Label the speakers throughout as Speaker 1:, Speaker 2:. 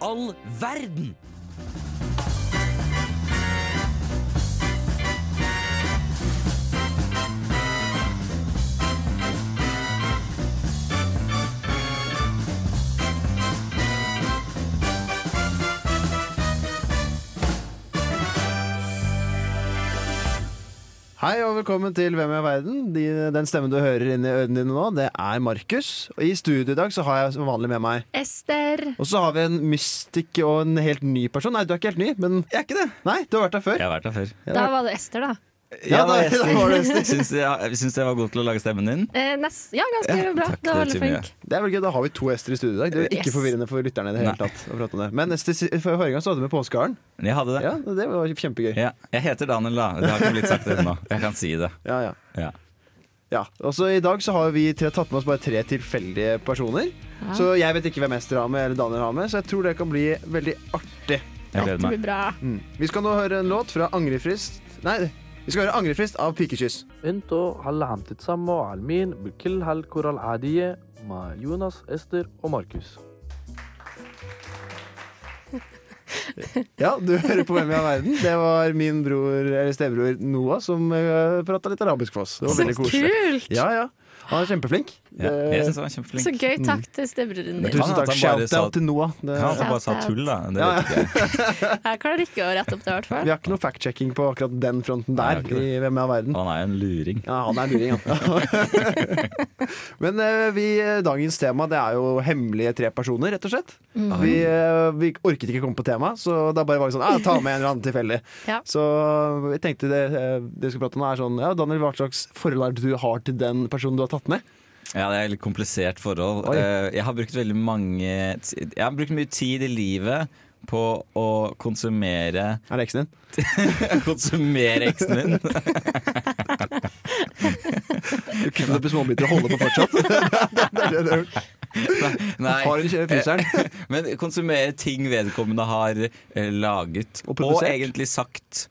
Speaker 1: all verden?
Speaker 2: Hei og velkommen til Hvem er verden? De, den stemmen du hører inni ørene dine nå, det er Markus. Og i studio i dag så har jeg som vanlig med meg
Speaker 3: Ester.
Speaker 2: Og så har vi en mystikk og en helt ny person. Nei, du er ikke helt ny, men
Speaker 4: Jeg er ikke det.
Speaker 2: Nei, du har vært her før.
Speaker 1: Jeg har vært her før.
Speaker 3: Da var det Ester, da.
Speaker 2: Ja, da-
Speaker 4: jeg
Speaker 2: da var det Ester.
Speaker 1: Syns jeg, jeg syns jeg var god til å lage stemmen din?
Speaker 3: Eh, nest, ja, ganske
Speaker 1: Ja,
Speaker 3: bra.
Speaker 1: takk,
Speaker 3: det
Speaker 1: det
Speaker 3: var veldig
Speaker 1: betyr mye.
Speaker 3: flink.
Speaker 2: Det er vel gøy, Da har vi to Ester i studio i dag. Det er jo ikke
Speaker 3: Yes.
Speaker 2: forvirrende for lytterne. i det hele
Speaker 1: Nei.
Speaker 2: tatt å prate om det Men Ester, si- for forrige gang så hadde du med påskeharen.
Speaker 1: Jeg hadde det.
Speaker 2: Ja, det var kjempegøy.
Speaker 1: Ja. Jeg heter Daniel, da. Det har ikke blitt sagt ennå. Jeg kan si det.
Speaker 2: Ja, ja.
Speaker 1: Ja.
Speaker 2: ja. Og så I dag så har vi tre, tatt med oss bare tre tilfeldige personer. Så jeg vet ikke hvem Ester har med, eller Daniel har med, så jeg tror det kan bli veldig artig.
Speaker 1: Jeg gleder
Speaker 3: Det
Speaker 1: meg.
Speaker 3: blir bra.
Speaker 2: Mm. Vi skal nå høre en låt fra Angrefrist Nei, vi skal høre Angrefrist av Pikekyss.
Speaker 5: انتوا هلا عم تتسمعوا على المين بكل هالكرة العادية مع يونس استر وماركوس
Speaker 2: Ja, du hører på Hvem i all verden. Det var min bror, eller stebror Noah som uh, prata litt arabisk for oss. Det var
Speaker 3: Så
Speaker 2: veldig koselig.
Speaker 3: kult!
Speaker 2: Ja, ja. Han er kjempeflink.
Speaker 1: Ja.
Speaker 2: Det-
Speaker 1: Jeg syns han var kjempeflink.
Speaker 3: Så gøy. Takk til stebroren din.
Speaker 1: Tusen-
Speaker 2: Mm. Tusen
Speaker 1: Han- han
Speaker 2: takk.
Speaker 1: bare
Speaker 2: Shout
Speaker 1: sa-
Speaker 2: out til Noah. Det,
Speaker 1: Ja, han bare sa tull, da. Det
Speaker 2: Ja, ja.
Speaker 1: vet ikke jeg.
Speaker 3: Jeg klarer ikke å rette opp det, i hvert
Speaker 2: Vi
Speaker 3: fall.
Speaker 2: har ikke noe fact-checking på akkurat den fronten
Speaker 1: Nei,
Speaker 2: der.
Speaker 1: vi har ikke
Speaker 2: i Hvem i all verden
Speaker 1: Han er jo en luring.
Speaker 2: Ja, han er luring, han. Men eh, vi, dagens tema det er jo hemmelige tre personer, rett og slett. Vi, eh, vi orket ikke komme på tema, så da bare var vi sånn «Ah, Ta med en eller annen tilfeldig.
Speaker 3: Ja.
Speaker 2: Så jeg tenkte det, eh, det vi skal prate om, er sånn ja, Daniel, hva slags forhold er det du har til den personen du har tatt med?
Speaker 1: Ja, det er et litt komplisert forhold.
Speaker 2: Oi.
Speaker 1: Eh, Jeg har brukt veldig mange Jeg har brukt mye tid i livet på å konsumere
Speaker 2: Er det eksen din?
Speaker 1: Konsumere eksen min.
Speaker 2: Du kutter opp i småbiter og holder på fortsatt? det er det du har gjort.
Speaker 1: Nei.
Speaker 2: Har en kjøre fryseren?
Speaker 1: Men konsumere ting vedkommende har eh, laget
Speaker 2: Og
Speaker 1: og,
Speaker 2: produsert.
Speaker 1: egentlig sagt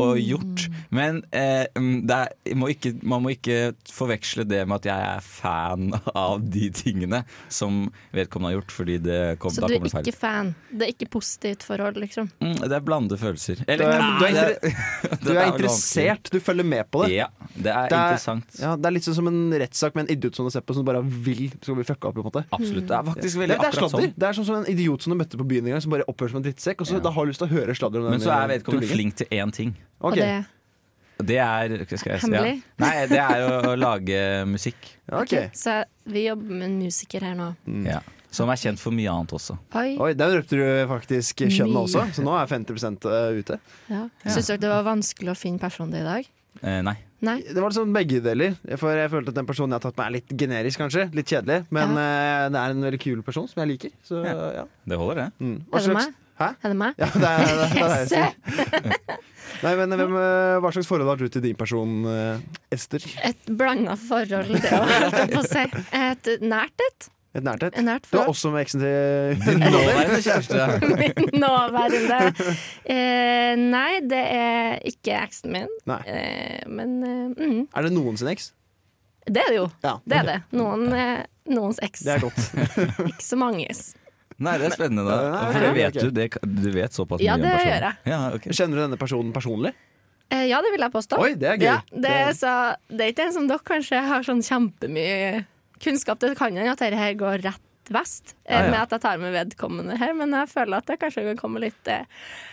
Speaker 1: og gjort. Men eh, mm, det er, må ikke, man må ikke forveksle det med at jeg er fan av de tingene som vedkommende har gjort, fordi det kom,
Speaker 3: Så
Speaker 1: da
Speaker 3: du er
Speaker 1: kommer det feil.
Speaker 3: ikke fan. Det er ikke positivt forhold, liksom.
Speaker 1: Mm, det er blandede følelser.
Speaker 2: Du er, du er,
Speaker 1: det-
Speaker 2: inter
Speaker 1: dette vel
Speaker 2: du er
Speaker 1: vanskelig.
Speaker 2: interessert, du følger med på det.
Speaker 1: Ja, det er
Speaker 2: Det er-
Speaker 1: interessant.
Speaker 2: Ja, Det er litt sånn som en rettssak med en idiot som du har sett på som bare vil skal bli fucka opp. på en måte
Speaker 1: Absolutt. Det er faktisk
Speaker 2: det,
Speaker 1: veldig
Speaker 2: det er
Speaker 1: akkurat
Speaker 2: sladder.
Speaker 1: sånn.
Speaker 2: Det er sånn som en idiot som du møtte på byen en gang, som bare oppfører seg som en drittsekk. Og så da har du lyst til å høre sladder om den
Speaker 1: sånn. Men så er vedkommende
Speaker 2: eh, tullingen.
Speaker 1: flink til én ting.
Speaker 2: Ok.
Speaker 3: Og det
Speaker 1: Og Det er hva skal jeg si, ja.
Speaker 3: Hemmelig?
Speaker 1: Nei, det er jo å lage musikk.
Speaker 2: Ja, ok.
Speaker 3: Så vi jobber med en musiker her nå.
Speaker 2: Mm.
Speaker 1: Ja. Som er kjent for mye annet også.
Speaker 3: Oi.
Speaker 2: Oi, der røpte du faktisk kjønnet
Speaker 3: Mye.
Speaker 2: også, så nå er 50 ute.
Speaker 3: Ja. Syns dere det var vanskelig å finne personen din i dag?
Speaker 1: Eh, nei.
Speaker 3: Nei?
Speaker 2: Det var sånn begge deler, for jeg følte at den personen jeg har tatt med, er litt generisk, kanskje. Litt kjedelig. Men eh, det er en veldig kul person som jeg liker. Så ja.
Speaker 1: Det holder, det.
Speaker 2: Mm.
Speaker 3: Er det meg?
Speaker 2: Hæ?
Speaker 3: Er det meg?
Speaker 2: Ja, det er, det er, det er jeg som-
Speaker 3: Se!
Speaker 2: Nei, men hvem, eh, Hva slags forhold har du til din person, eh, Ester?
Speaker 3: Et blanda forhold, det òg, holdt jeg på å si. Et nært et.
Speaker 2: Et nært et?
Speaker 3: Et nært
Speaker 2: Du er
Speaker 3: forhold.
Speaker 2: også med eksen til
Speaker 1: Din nåværende kjæreste.
Speaker 3: Min nåværende. Eh, nei, det er ikke eksen min.
Speaker 2: Nei.
Speaker 3: Eh, men eh, mm,
Speaker 2: Er det noen sin eks?
Speaker 3: det er det jo.
Speaker 2: Ja.
Speaker 3: Det er det. Noen, eh, noens eks.
Speaker 2: Det er godt.
Speaker 3: Ikke så manges.
Speaker 1: Nei, det er spennende. Da.
Speaker 2: Nei,
Speaker 1: For det
Speaker 2: ok.
Speaker 1: vet du. Det, du vet såpass mye
Speaker 3: Ja,
Speaker 1: om
Speaker 3: det
Speaker 1: personen.
Speaker 3: gjør jeg.
Speaker 1: Ja, ok.
Speaker 2: Kjenner du denne personen personlig?
Speaker 3: Eh, ja, det vil jeg påstå.
Speaker 2: Oi, det er gøy.
Speaker 3: Ja, det,
Speaker 2: Det er-
Speaker 3: er så, det er ikke en som dere kanskje har sånn kjempemye kunnskap til. Det kan hende at dette her går rett vest eh,
Speaker 1: Ja, ja.
Speaker 3: med at jeg tar med vedkommende her, men jeg føler at det kanskje kan komme litt eh,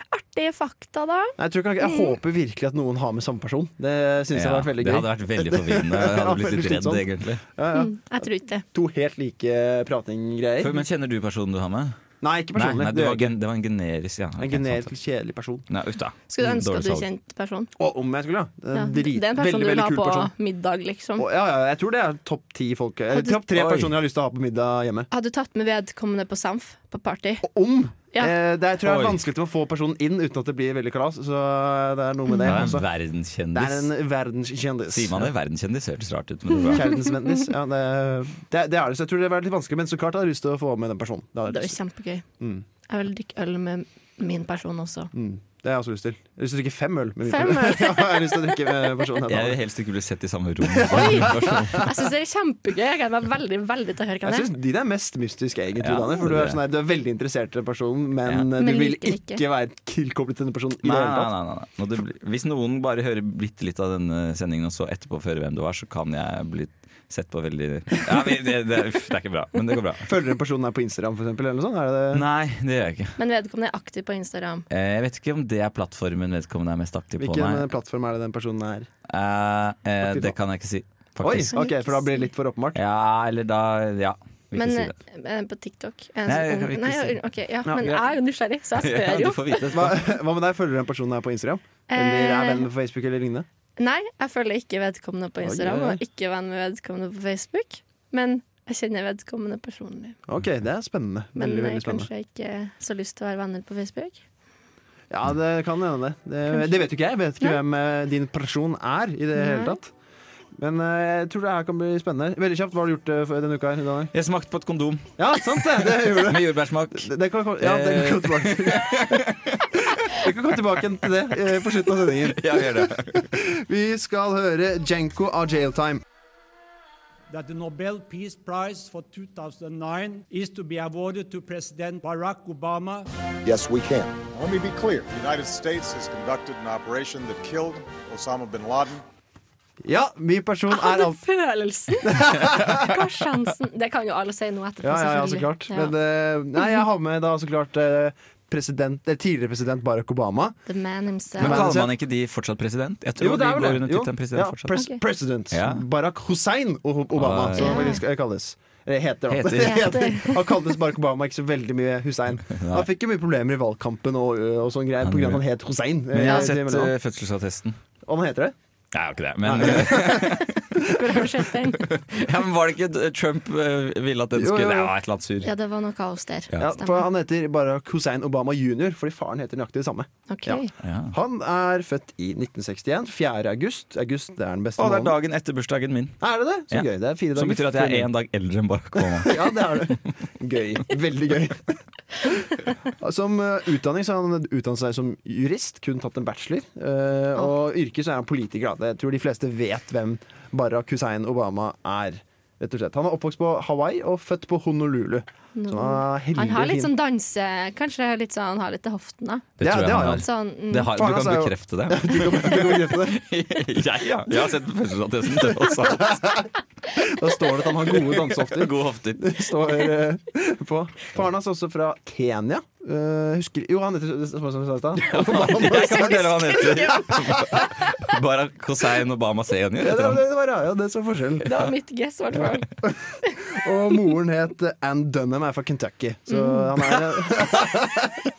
Speaker 3: artige fakta da.
Speaker 2: Nei, jeg, tror ikke, jeg håper virkelig at noen har med samme person. Det synes jeg
Speaker 1: Ja,
Speaker 2: hadde vært veldig
Speaker 1: det
Speaker 2: gøy.
Speaker 1: hadde vært veldig forvirrende. Jeg hadde blitt litt redd, egentlig.
Speaker 2: Ja, ja.
Speaker 3: Mm, jeg tror ikke det.
Speaker 2: To helt like pratinggreier.
Speaker 1: For, men kjenner du personen du har med?
Speaker 2: Nei, ikke
Speaker 1: Nei,
Speaker 2: personlig.
Speaker 1: nei
Speaker 2: det
Speaker 1: det,
Speaker 2: gjør
Speaker 1: var
Speaker 2: jeg ikke.
Speaker 1: gen, det var en generisk, ja.
Speaker 2: En
Speaker 1: Ok,
Speaker 2: generisk
Speaker 1: sant.
Speaker 2: kjedelig person.
Speaker 1: Nei, uff da.
Speaker 2: Mm,
Speaker 3: Skulle ønske
Speaker 1: Dårlig
Speaker 3: at du
Speaker 1: salg.
Speaker 3: kjente personen.
Speaker 2: Å, om jeg skulle, ja.
Speaker 3: Ja.
Speaker 2: En
Speaker 3: Det
Speaker 2: Drit,
Speaker 3: er en person
Speaker 2: veldig,
Speaker 3: du vil
Speaker 2: veldig
Speaker 3: ha
Speaker 2: kul
Speaker 3: på
Speaker 2: person.
Speaker 3: middag, liksom.
Speaker 2: Å, ja, ja, jeg tror det er topp ti folk Eller
Speaker 3: Hadde-
Speaker 2: topp tre
Speaker 1: Oi.
Speaker 2: personer jeg har lyst til å ha på middag hjemme.
Speaker 3: Hadde du tatt med vedkommende på Samf, på party?
Speaker 2: Og om!
Speaker 3: Ja.
Speaker 2: Eh, det er, tror jeg er
Speaker 1: Oi.
Speaker 2: vanskelig til å få personen inn uten at det blir veldig kalas. Så det er noe med
Speaker 1: Mm. Det
Speaker 2: det.
Speaker 1: er en
Speaker 2: Også. Det er
Speaker 1: verdenskjendis.
Speaker 2: en verdenskjendis.
Speaker 1: Sier man det? Verdenskjendis høres rart ut. Men det er bra.
Speaker 2: Kjærlighetsvendis. Ja, det, det, det er det, så jeg tror det var litt vanskelig, men så klart hadde jeg lyst til å få med den personen. Det hadde jeg
Speaker 3: Det var
Speaker 2: lyst til.
Speaker 3: kjempegøy.
Speaker 2: Mm.
Speaker 3: Jeg vil drikke øl med min person også.
Speaker 2: Mm. Det har jeg også lyst til. Jeg har lyst til å drikke fem øl. Med
Speaker 3: Fem øl?
Speaker 2: ja, jeg har lyst til å drikke med personen jeg
Speaker 1: Jeg
Speaker 2: tar.
Speaker 1: vil helst ikke bli sett i samme rom.
Speaker 3: Jeg syns det er kjempegøy. Jeg gleder meg veldig veldig til å høre hva
Speaker 2: Jeg
Speaker 3: det er.
Speaker 2: syns de er mest mystiske, egentlig.
Speaker 1: Ja,
Speaker 2: Daniel, for
Speaker 1: det
Speaker 2: du
Speaker 1: er
Speaker 2: er, sånn, her, du er veldig interessert i den personen, men eh,
Speaker 3: Men
Speaker 2: du vil
Speaker 3: liker
Speaker 2: ikke,
Speaker 3: ikke.
Speaker 2: være tilkoblet til den personen. I
Speaker 1: Nei,
Speaker 2: det
Speaker 1: nei,
Speaker 2: hele tatt.
Speaker 1: nei, nei, nei. Når det blir- Hvis noen bare hører bitte litt av denne sendingen og så etterpå fører hvem du var, så kan jeg bli sett på veldig ja, vi- det, det, uff, det er ikke bra, men det går bra.
Speaker 2: Følger den personen her på Instagram, for eksempel? Eller noe sånt? Er det det?
Speaker 1: Nei, det gjør jeg ikke.
Speaker 3: Men vedkommende er aktiv på Instagram.
Speaker 1: Eh, Jeg vet ikke om det er plattformen vedkommende er mest aktiv på,
Speaker 2: Hvilken
Speaker 1: nei.
Speaker 2: eh, plattform er det den personen er?
Speaker 1: Eh, eh,
Speaker 2: Aktiv
Speaker 1: det
Speaker 2: på?
Speaker 1: kan jeg ikke si,
Speaker 2: Oi,
Speaker 1: faktisk.
Speaker 2: ok, For da blir det litt for åpenbart.
Speaker 1: Ja, eller da Ja. Vil
Speaker 3: Men
Speaker 1: ikke si det.
Speaker 3: eh, på TikTok
Speaker 1: Nei,
Speaker 3: er en
Speaker 1: jeg
Speaker 3: sånn
Speaker 1: kan
Speaker 3: ung-
Speaker 1: ikke
Speaker 3: Nei,
Speaker 1: si det.
Speaker 3: ok, ja,
Speaker 1: Ja,
Speaker 3: men
Speaker 1: ja.
Speaker 3: jeg er jo nysgjerrig, så jeg spør
Speaker 1: Ja,
Speaker 3: jo.
Speaker 1: du får vite det.
Speaker 2: Hva, hva med deg, følger du den personen her på Instagram? Eller er venn
Speaker 3: Eh,
Speaker 2: på Facebook eller lignende?
Speaker 3: nei, jeg følger ikke vedkommende på Instagram,
Speaker 2: oi, oi.
Speaker 3: og ikke venn med vedkommende på Facebook. Men jeg kjenner vedkommende personlig.
Speaker 2: Ok, det er spennende.
Speaker 3: Men
Speaker 2: Veldig, veldig
Speaker 3: jeg
Speaker 2: spennende.
Speaker 3: kanskje ikke så lyst til å være venner på Facebook.
Speaker 2: Ja, det kan hende det. Det, det vet jo ikke jeg. Jeg vet ikke
Speaker 3: Nei.
Speaker 2: hvem eh, din person er i det
Speaker 3: Nei.
Speaker 2: hele tatt. Men eh, jeg tror det her kan bli spennende. Veldig kjapt, hva har du gjort eh, for- denne uka her, Daniel?
Speaker 1: Jeg smakte på et kondom
Speaker 2: Ja, sant det! Det gjorde du.
Speaker 1: med jordbærsmak.
Speaker 2: Det, det kan, ja, det kan komme tilbake til. Vi kan komme tilbake igjen til det eh, på slutten av sendingen.
Speaker 1: Ja, gjør det.
Speaker 2: Vi skal høre Jenko av Jailtime.
Speaker 4: that the Nobel Peace Prize for 2009 is to be awarded to President Barack Obama.
Speaker 6: Yes, we can.
Speaker 7: Let me be clear. The United States has conducted an operation that killed Osama bin Laden.
Speaker 2: Ja, min person er
Speaker 3: Hadde
Speaker 2: alt.
Speaker 3: Ah, følelsen! Hva er sjansen? Det kan jo alle si nå etterpå,
Speaker 2: Ja, ja, ja, så
Speaker 3: selvfølgelig.
Speaker 2: klart.
Speaker 3: Ja.
Speaker 2: Men, eh, nei, jeg har med da så klart eh, president, eh, tidligere president Barack Obama.
Speaker 3: The man himself.
Speaker 1: Men kaller man ikke de fortsatt president? Jeg tror
Speaker 2: Jo, det
Speaker 1: de
Speaker 2: er vel
Speaker 1: går
Speaker 2: det.
Speaker 1: under
Speaker 2: Jo,
Speaker 1: tittelen president
Speaker 2: ja,
Speaker 1: fortsatt.
Speaker 2: pres
Speaker 3: Ok.
Speaker 2: President
Speaker 1: Ja.
Speaker 2: Barack Hussein O- Obama,
Speaker 1: Ah,
Speaker 2: som
Speaker 1: ja.
Speaker 2: han faktisk kalles. Eller heter, da.
Speaker 1: Heter.
Speaker 3: Heter.
Speaker 2: Han kaltes Barack Obama, ikke så veldig mye Hussein. Han fikk jo mye problemer i valgkampen og, og sånn greier
Speaker 1: Han
Speaker 2: pga. at
Speaker 1: gjorde
Speaker 2: han het Hussein.
Speaker 1: Men jeg
Speaker 2: Eh,
Speaker 1: har
Speaker 2: til
Speaker 1: sett
Speaker 2: mellomnavn.
Speaker 1: eh, fødselsattesten.
Speaker 2: Og han heter det?
Speaker 1: Jeg har ikke det, men,
Speaker 3: Hvor har du sett den?
Speaker 1: ja, men var det ikke eh, Trump eh, ville at den
Speaker 2: Jo, jo,
Speaker 1: skulle
Speaker 2: jo.
Speaker 1: Det var et eller annet sur.
Speaker 3: Ja, det var noe kaos der.
Speaker 2: Ja,
Speaker 3: Stemmer.
Speaker 2: for han heter Barack Hussein Obama jr., fordi faren heter nøyaktig det samme.
Speaker 3: Ok.
Speaker 2: Ja.
Speaker 1: Ja.
Speaker 2: Han er født i 1961. 4. august. August det er den beste
Speaker 1: Å, det er
Speaker 2: måneden.
Speaker 1: dagen etter bursdagen min.
Speaker 2: Er det det? Så
Speaker 1: Ja.
Speaker 2: gøy. Det er fire dager.
Speaker 1: Som betyr at jeg er én dag eldre enn Barack Obama.
Speaker 2: Ja, det er det. Gøy. Veldig gøy. Som eh, utdanning så har han utdannet seg som jurist, kun tatt en bachelor. eh, og yrke så er han politiker. Da. Jeg tror de fleste vet hvem Barack Hussein Obama er. Rett og slett. Han er oppvokst på Hawaii og født på Honolulu. Så han, er heldig,
Speaker 3: Han har litt
Speaker 2: fin.
Speaker 3: sånn danse... Kanskje litt sånn, han har litt til hoftene.
Speaker 1: Det
Speaker 2: Ja,
Speaker 1: tror
Speaker 2: det
Speaker 1: jeg
Speaker 2: har
Speaker 1: han
Speaker 2: han.
Speaker 1: har.
Speaker 3: Sånn, mm,
Speaker 1: Det har,
Speaker 2: Faren
Speaker 1: du
Speaker 2: hans
Speaker 1: kan
Speaker 2: er jo-
Speaker 1: bekrefte det.
Speaker 2: Du kan, du kan bekrefte det.
Speaker 1: Jeg, ja. Jeg har sett fødselsattesten til oss alle.
Speaker 2: Da står det at han har gode dansehofter.
Speaker 1: Gode hofter.
Speaker 2: Det står eh, på. Faren hans er også fra Kenya. Eh, husker, jo, han heter som jeg sa i stad.
Speaker 1: Jeg skal fortelle hva han heter. Barack Hussein Obama senior.
Speaker 2: Ja, det,
Speaker 1: heter han.
Speaker 2: det, var, ja, det som er forskjellen.
Speaker 3: Det var mitt guess, i hvert fall.
Speaker 2: Og moren het Ann Dunham, er fra Kentucky. Så han er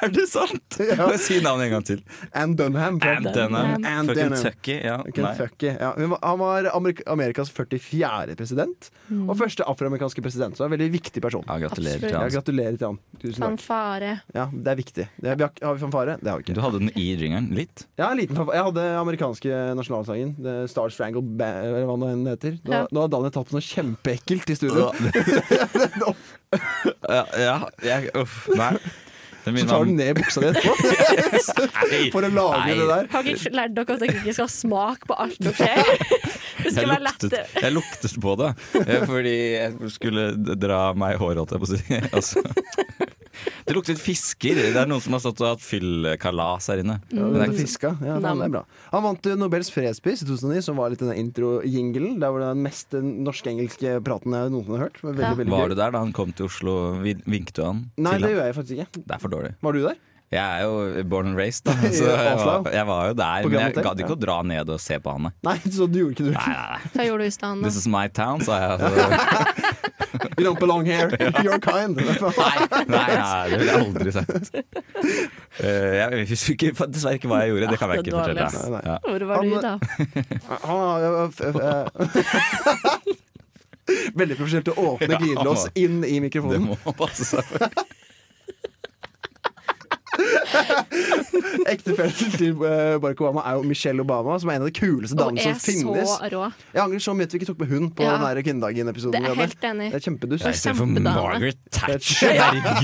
Speaker 1: Er det sant?
Speaker 2: Ja.
Speaker 1: Bare Si navnet en gang til.
Speaker 2: Ann Dunham. fra-
Speaker 1: Ann Dunham.
Speaker 2: Ann
Speaker 1: Fra
Speaker 2: Dunham.
Speaker 1: Kentucky. Ja. Nei.
Speaker 2: Kentucky, ja. Hun var- Han var Amerik Amerikas 44. president, og første afroamerikanske president. Så en veldig viktig person.
Speaker 1: Ja, gratulerer til
Speaker 2: Ja,
Speaker 1: han.
Speaker 2: gratulerer til han. Tusen takk.
Speaker 3: Fanfare.
Speaker 2: Ja, det er viktig. Det er, vi har, har vi fanfare? Det har vi
Speaker 1: Du
Speaker 2: ikke.
Speaker 1: hadde den i jingeren litt?
Speaker 2: Ja, en liten fanfare. Jeg hadde amerikanske nasjonalsangen, The Star Strangle Ba- eller hva nå enn heter. Nå,
Speaker 3: Ja.
Speaker 2: nå har Daniel tatt på noe kjempeekkelt i studio.
Speaker 1: Ja, ja jeg, uff, nei. Det
Speaker 2: Så
Speaker 1: minner meg
Speaker 2: tar du
Speaker 1: om-
Speaker 2: ned i buksa di etterpå
Speaker 1: Nei,
Speaker 2: for å lage
Speaker 1: nei.
Speaker 2: det der.
Speaker 3: Har ikke lært dere at dere ikke skal smake på alt dere ser? Det
Speaker 1: Jeg
Speaker 3: skal være lett.
Speaker 1: luktet, jeg luktet på det, eh, fordi jeg skulle d- dra meg i håret, holdt jeg på å si. Altså. Det luktet fisker. Det er noen som har stått og hatt fyllkalas her inne. Det
Speaker 2: Ja,
Speaker 1: er
Speaker 2: den
Speaker 3: Mm.
Speaker 1: ikke-
Speaker 2: fiska. Ja, den er bra. Han vant eh, Nobels fredspris i 2009, som var litt denne intro-jingelen. Der var det den mest eh, norsk-engelske praten jeg noensinne har hørt. Men veldig,
Speaker 3: Ja.
Speaker 2: veldig
Speaker 1: Var du
Speaker 2: gøy.
Speaker 1: der da han kom til Oslo? Vi- Vinket du han?
Speaker 2: Nei,
Speaker 1: til
Speaker 2: det
Speaker 1: han?
Speaker 2: gjør jeg faktisk ikke.
Speaker 1: det er for dårlig.
Speaker 2: Var du der?
Speaker 1: Jeg er jo born and raised, da.
Speaker 2: I
Speaker 1: Så jeg,
Speaker 2: Oslo?
Speaker 1: var, jeg var jo der, men
Speaker 2: På Grand
Speaker 1: jeg gadd
Speaker 2: Hotel?
Speaker 1: ikke å dra ned og se på han. nei.
Speaker 2: Nei, så du gjorde ikke det. Nei,
Speaker 3: Hva gjorde du i stedet?
Speaker 1: This is my town, sa jeg. altså.
Speaker 2: You don't belong here. You're kind.
Speaker 1: Nei, nei, det ville jeg aldri sagt. Eh, Jeg husker ikke, dessverre ikke hva jeg gjorde. Det kan jeg
Speaker 3: Ah, det
Speaker 1: ikke
Speaker 3: er dårlig,
Speaker 1: fortelle.
Speaker 3: ass.
Speaker 1: deg.
Speaker 2: Nei, nei.
Speaker 1: Ja.
Speaker 3: Hvor var
Speaker 2: Han- eh,
Speaker 3: du da?
Speaker 2: Han har jo f- f- eh, Veldig profesjonelt å åpne
Speaker 1: Ja,
Speaker 2: glidelås
Speaker 1: han var-
Speaker 2: inn i
Speaker 1: Det
Speaker 2: mikrofonen.
Speaker 1: må passe seg for.
Speaker 2: Ektefellen til eh, Barack Obama er jo Michelle Obama, som er en av de kuleste
Speaker 3: Og
Speaker 2: damene
Speaker 3: er
Speaker 2: som finnes.
Speaker 3: så rå.
Speaker 2: Jeg angrer så mye at vi ikke tok med hun på
Speaker 3: Ja.
Speaker 2: den der kvinnedagen-episoden.
Speaker 3: Det er
Speaker 2: vi hadde.
Speaker 3: helt enig.
Speaker 2: Det er kjempedust.
Speaker 1: Jeg ser for
Speaker 3: Kjempedame.
Speaker 1: Margaret Thatcher.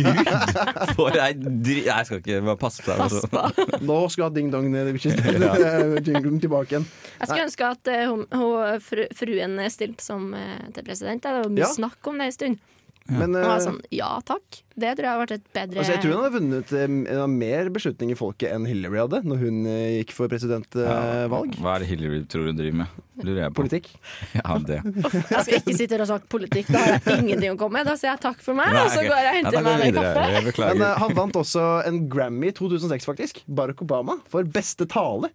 Speaker 1: Herregud! For ei dri... Nei, jeg skal ikke bare passe på deg.
Speaker 3: Pass
Speaker 1: altså.
Speaker 3: på.
Speaker 2: Nå skal Ding Dong ned i bikkjen. Jinglen tilbake igjen.
Speaker 3: Jeg skulle ønske at eh, hun, hun, fru, fruen stilte som eh, til president. Det var mye
Speaker 2: Ja.
Speaker 3: snakk om det en stund.
Speaker 2: Men
Speaker 3: Hun var
Speaker 2: eh,
Speaker 3: sånn ja takk. Det tror jeg har vært et bedre
Speaker 2: altså, jeg tror hun hadde vunnet eh, mer beslutning i folket enn Hillary hadde når hun eh, gikk for presidentvalg.
Speaker 1: Hva er det Hillary tror hun driver med? Lurer jeg på.
Speaker 2: Politikk.
Speaker 1: Ja, det.
Speaker 3: Jeg skal ikke sitte her og snakke politikk, da har jeg ingenting å komme med. Da sier jeg takk for meg, og Ah, så
Speaker 1: Nei, ok.
Speaker 3: går jeg og
Speaker 1: Ja,
Speaker 3: henter
Speaker 1: da går
Speaker 3: meg
Speaker 1: vi
Speaker 3: en
Speaker 1: videre.
Speaker 3: kaffe.
Speaker 1: Jeg
Speaker 2: Men
Speaker 1: Beklager.
Speaker 2: eh, han vant også en Grammy i 2006, faktisk. Barack Obama for beste tale.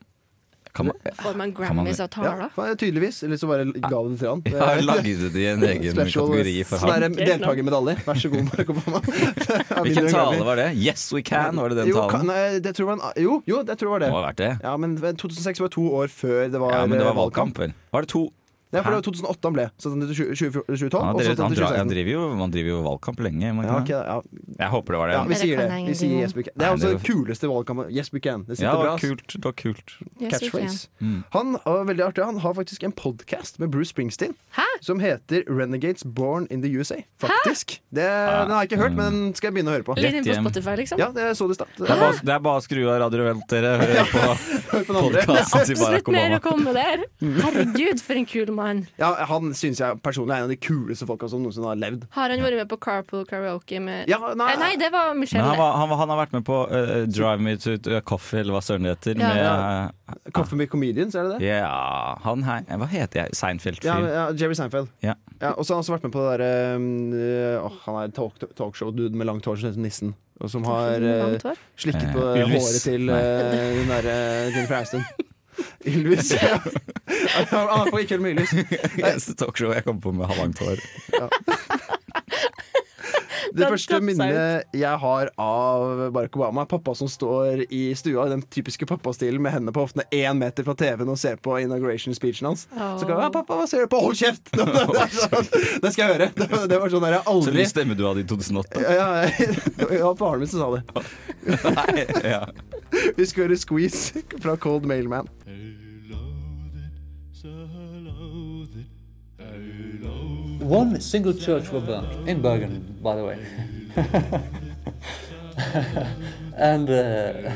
Speaker 1: Kan man,
Speaker 3: Får man
Speaker 1: Kan man-
Speaker 3: Grammys av
Speaker 2: Ja,
Speaker 3: taler?
Speaker 2: for- tydeligvis. Eller så bare ga det til han.
Speaker 1: jeg har laget det i en egen
Speaker 2: eh, Special
Speaker 1: kategori for
Speaker 2: sånn
Speaker 1: ham.
Speaker 2: der deltakermedalje. Vær så god, Barack Obama. Han vinner
Speaker 1: Hvilken
Speaker 2: en Grammy.
Speaker 1: tale var det? Yes we can, var det den
Speaker 2: jo, Kan,
Speaker 1: talen?
Speaker 2: nei, det tror jeg var en- jo, jo, det tror jeg var
Speaker 1: Det
Speaker 2: det.
Speaker 1: må ha vært det.
Speaker 2: Ja, men 2006 var to år før det var,
Speaker 1: Ja, men det
Speaker 2: eh,
Speaker 1: var valgkamp, vel. Var det to?
Speaker 2: Ja, for det var 2008 han ble. Så sånn den til 20- 20- 2012,
Speaker 1: Han,
Speaker 2: og så
Speaker 1: drev,
Speaker 2: sånn den
Speaker 1: han,
Speaker 2: til
Speaker 1: dra, han
Speaker 2: 2016.
Speaker 1: driver jo, man driver jo valgkamp lenge. må
Speaker 2: Ja,
Speaker 1: man
Speaker 2: ok,
Speaker 1: ikke det?
Speaker 2: ja.
Speaker 1: Jeg håper det var det.
Speaker 2: ja, vi
Speaker 3: Dere
Speaker 2: sier
Speaker 3: kan
Speaker 2: det.
Speaker 3: henge
Speaker 2: Vi sier
Speaker 3: sammen.
Speaker 2: yes, we can. Det er
Speaker 1: Nei,
Speaker 2: også
Speaker 1: det
Speaker 2: den kuleste valgkampen. Yes, we can. Det sitter
Speaker 1: Ja, Mm. det
Speaker 2: bra.
Speaker 1: var
Speaker 2: ass.
Speaker 1: kult. Det var kult.
Speaker 3: Yes, we
Speaker 2: Catchphrase. Han og veldig artig, han har faktisk en podkast med Bruce Springsteen
Speaker 3: Hæ?
Speaker 2: som heter Renegades Born in the USA. Faktisk. Det,
Speaker 1: Ah,
Speaker 2: den har jeg ikke hørt, men den skal jeg begynne å høre på.
Speaker 3: can. Litt inn på
Speaker 1: hjem.
Speaker 3: Spotify, liksom.
Speaker 2: Ja, det så du i stad.
Speaker 1: mm. Det er, bare, det er bare å skru av Radio Velt, dere. Hør på
Speaker 2: Hør på den andre.
Speaker 1: podkasten til
Speaker 3: Absolutt
Speaker 1: Barack
Speaker 3: mer å
Speaker 1: Obama.
Speaker 3: komme der.
Speaker 1: Mm.
Speaker 3: Herregud, for en kul mann.
Speaker 2: Ja, han syns jeg personlig er en av de kuleste folka som noensinne har levd.
Speaker 3: Har han vært med på Carpool Karaoke med
Speaker 2: Ja, nei,
Speaker 3: Eh, Nei, det var
Speaker 1: Men
Speaker 3: Michelle.
Speaker 1: han, var, han, var, han har vært med på eh, Drive Me to, to Coffee, eller hva søren det heter.
Speaker 3: Ja.
Speaker 1: Med, Ah. eh,
Speaker 2: Coffee med Comedians, er det det?
Speaker 1: Ja, han her eh, Hva heter jeg? Seinfeld-fyr.
Speaker 2: Ja, ja, Jerry Seinfeld.
Speaker 1: Ja.
Speaker 2: Ja, og så har han også vært med på det derre um, åh, Han er talk, talkshow-dude med langt hår som heter Nissen. Og som har eh,
Speaker 3: Langt hår.
Speaker 2: slikket på
Speaker 1: Eh, Ylvis.
Speaker 2: håret til eh, den derre Jennifer Aston. Ylvis. ja. Han har på ikke helt med Ylvis.
Speaker 1: Eneste talkshow jeg kom på med halvangt hår.
Speaker 2: Det
Speaker 3: Den
Speaker 2: første
Speaker 3: datt seg
Speaker 2: minnet jeg har av Barack Obama, er pappa som står i stua i den typiske pappastilen med hendene på hoftene én meter fra TV-en og ser på inauguration speechen hans. Så kan jeg, «Ja, 'Pappa, hva ser du på?' 'Hold kjeft!' sånn. Det skal jeg høre. Det, det var sånn der
Speaker 1: Så
Speaker 2: jeg
Speaker 1: det
Speaker 2: aldri
Speaker 1: stemmer du hadde i 2008?
Speaker 2: ja, ja, ja, faren min som sa det.
Speaker 1: Nei, ja.
Speaker 2: Vi skal høre Squeeze fra Cold Mailman.
Speaker 6: One single church were burned in Bergen, by the way. and uh,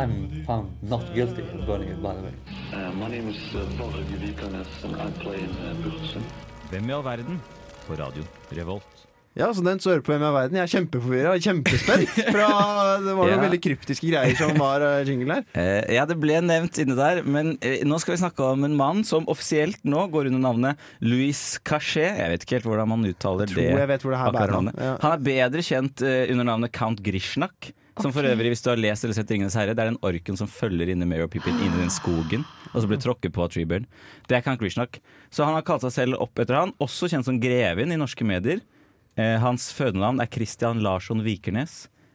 Speaker 6: I'm found not guilty of burning it, by the way.
Speaker 8: Uh, my name is uh, Pavel Gudikanes and I play in uh, Bussen.
Speaker 1: Hvem i all verden? På radio Revolt.
Speaker 2: Ja, så den som hører på Hvem er verden? Jeg er kjempeforvirra og kjempespent. Fra, det var noen
Speaker 1: Ja.
Speaker 2: veldig kryptiske greier som var eh, jingle her.
Speaker 1: Eh, ja, det ble nevnt inne der, men eh, nå skal vi snakke om en mann som offisielt nå går under navnet Louis Cachet. Jeg vet ikke helt hvordan man uttaler
Speaker 2: tror
Speaker 1: det.
Speaker 2: jeg vet hvor det her
Speaker 1: akkurat
Speaker 2: bærer han.
Speaker 1: navnet.
Speaker 2: Ja.
Speaker 1: Han er bedre kjent eh, under navnet Count Grishnak. Som for øvrig, hvis du har lest eller sett Ringenes herre, det er den orken som følger inne Mary og Pippin inn i den skogen, og så blir tråkket på av Treeburn. Det er Count Grishnak. Så han har kalt seg selv opp etter han, også kjent som Greven i norske medier. Eh, hans fødenavn er Christian Larsson Vikernes,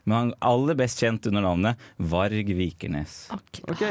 Speaker 1: men han er aller best kjent under navnet Varg Vikernes.
Speaker 3: Ok.
Speaker 2: Ok.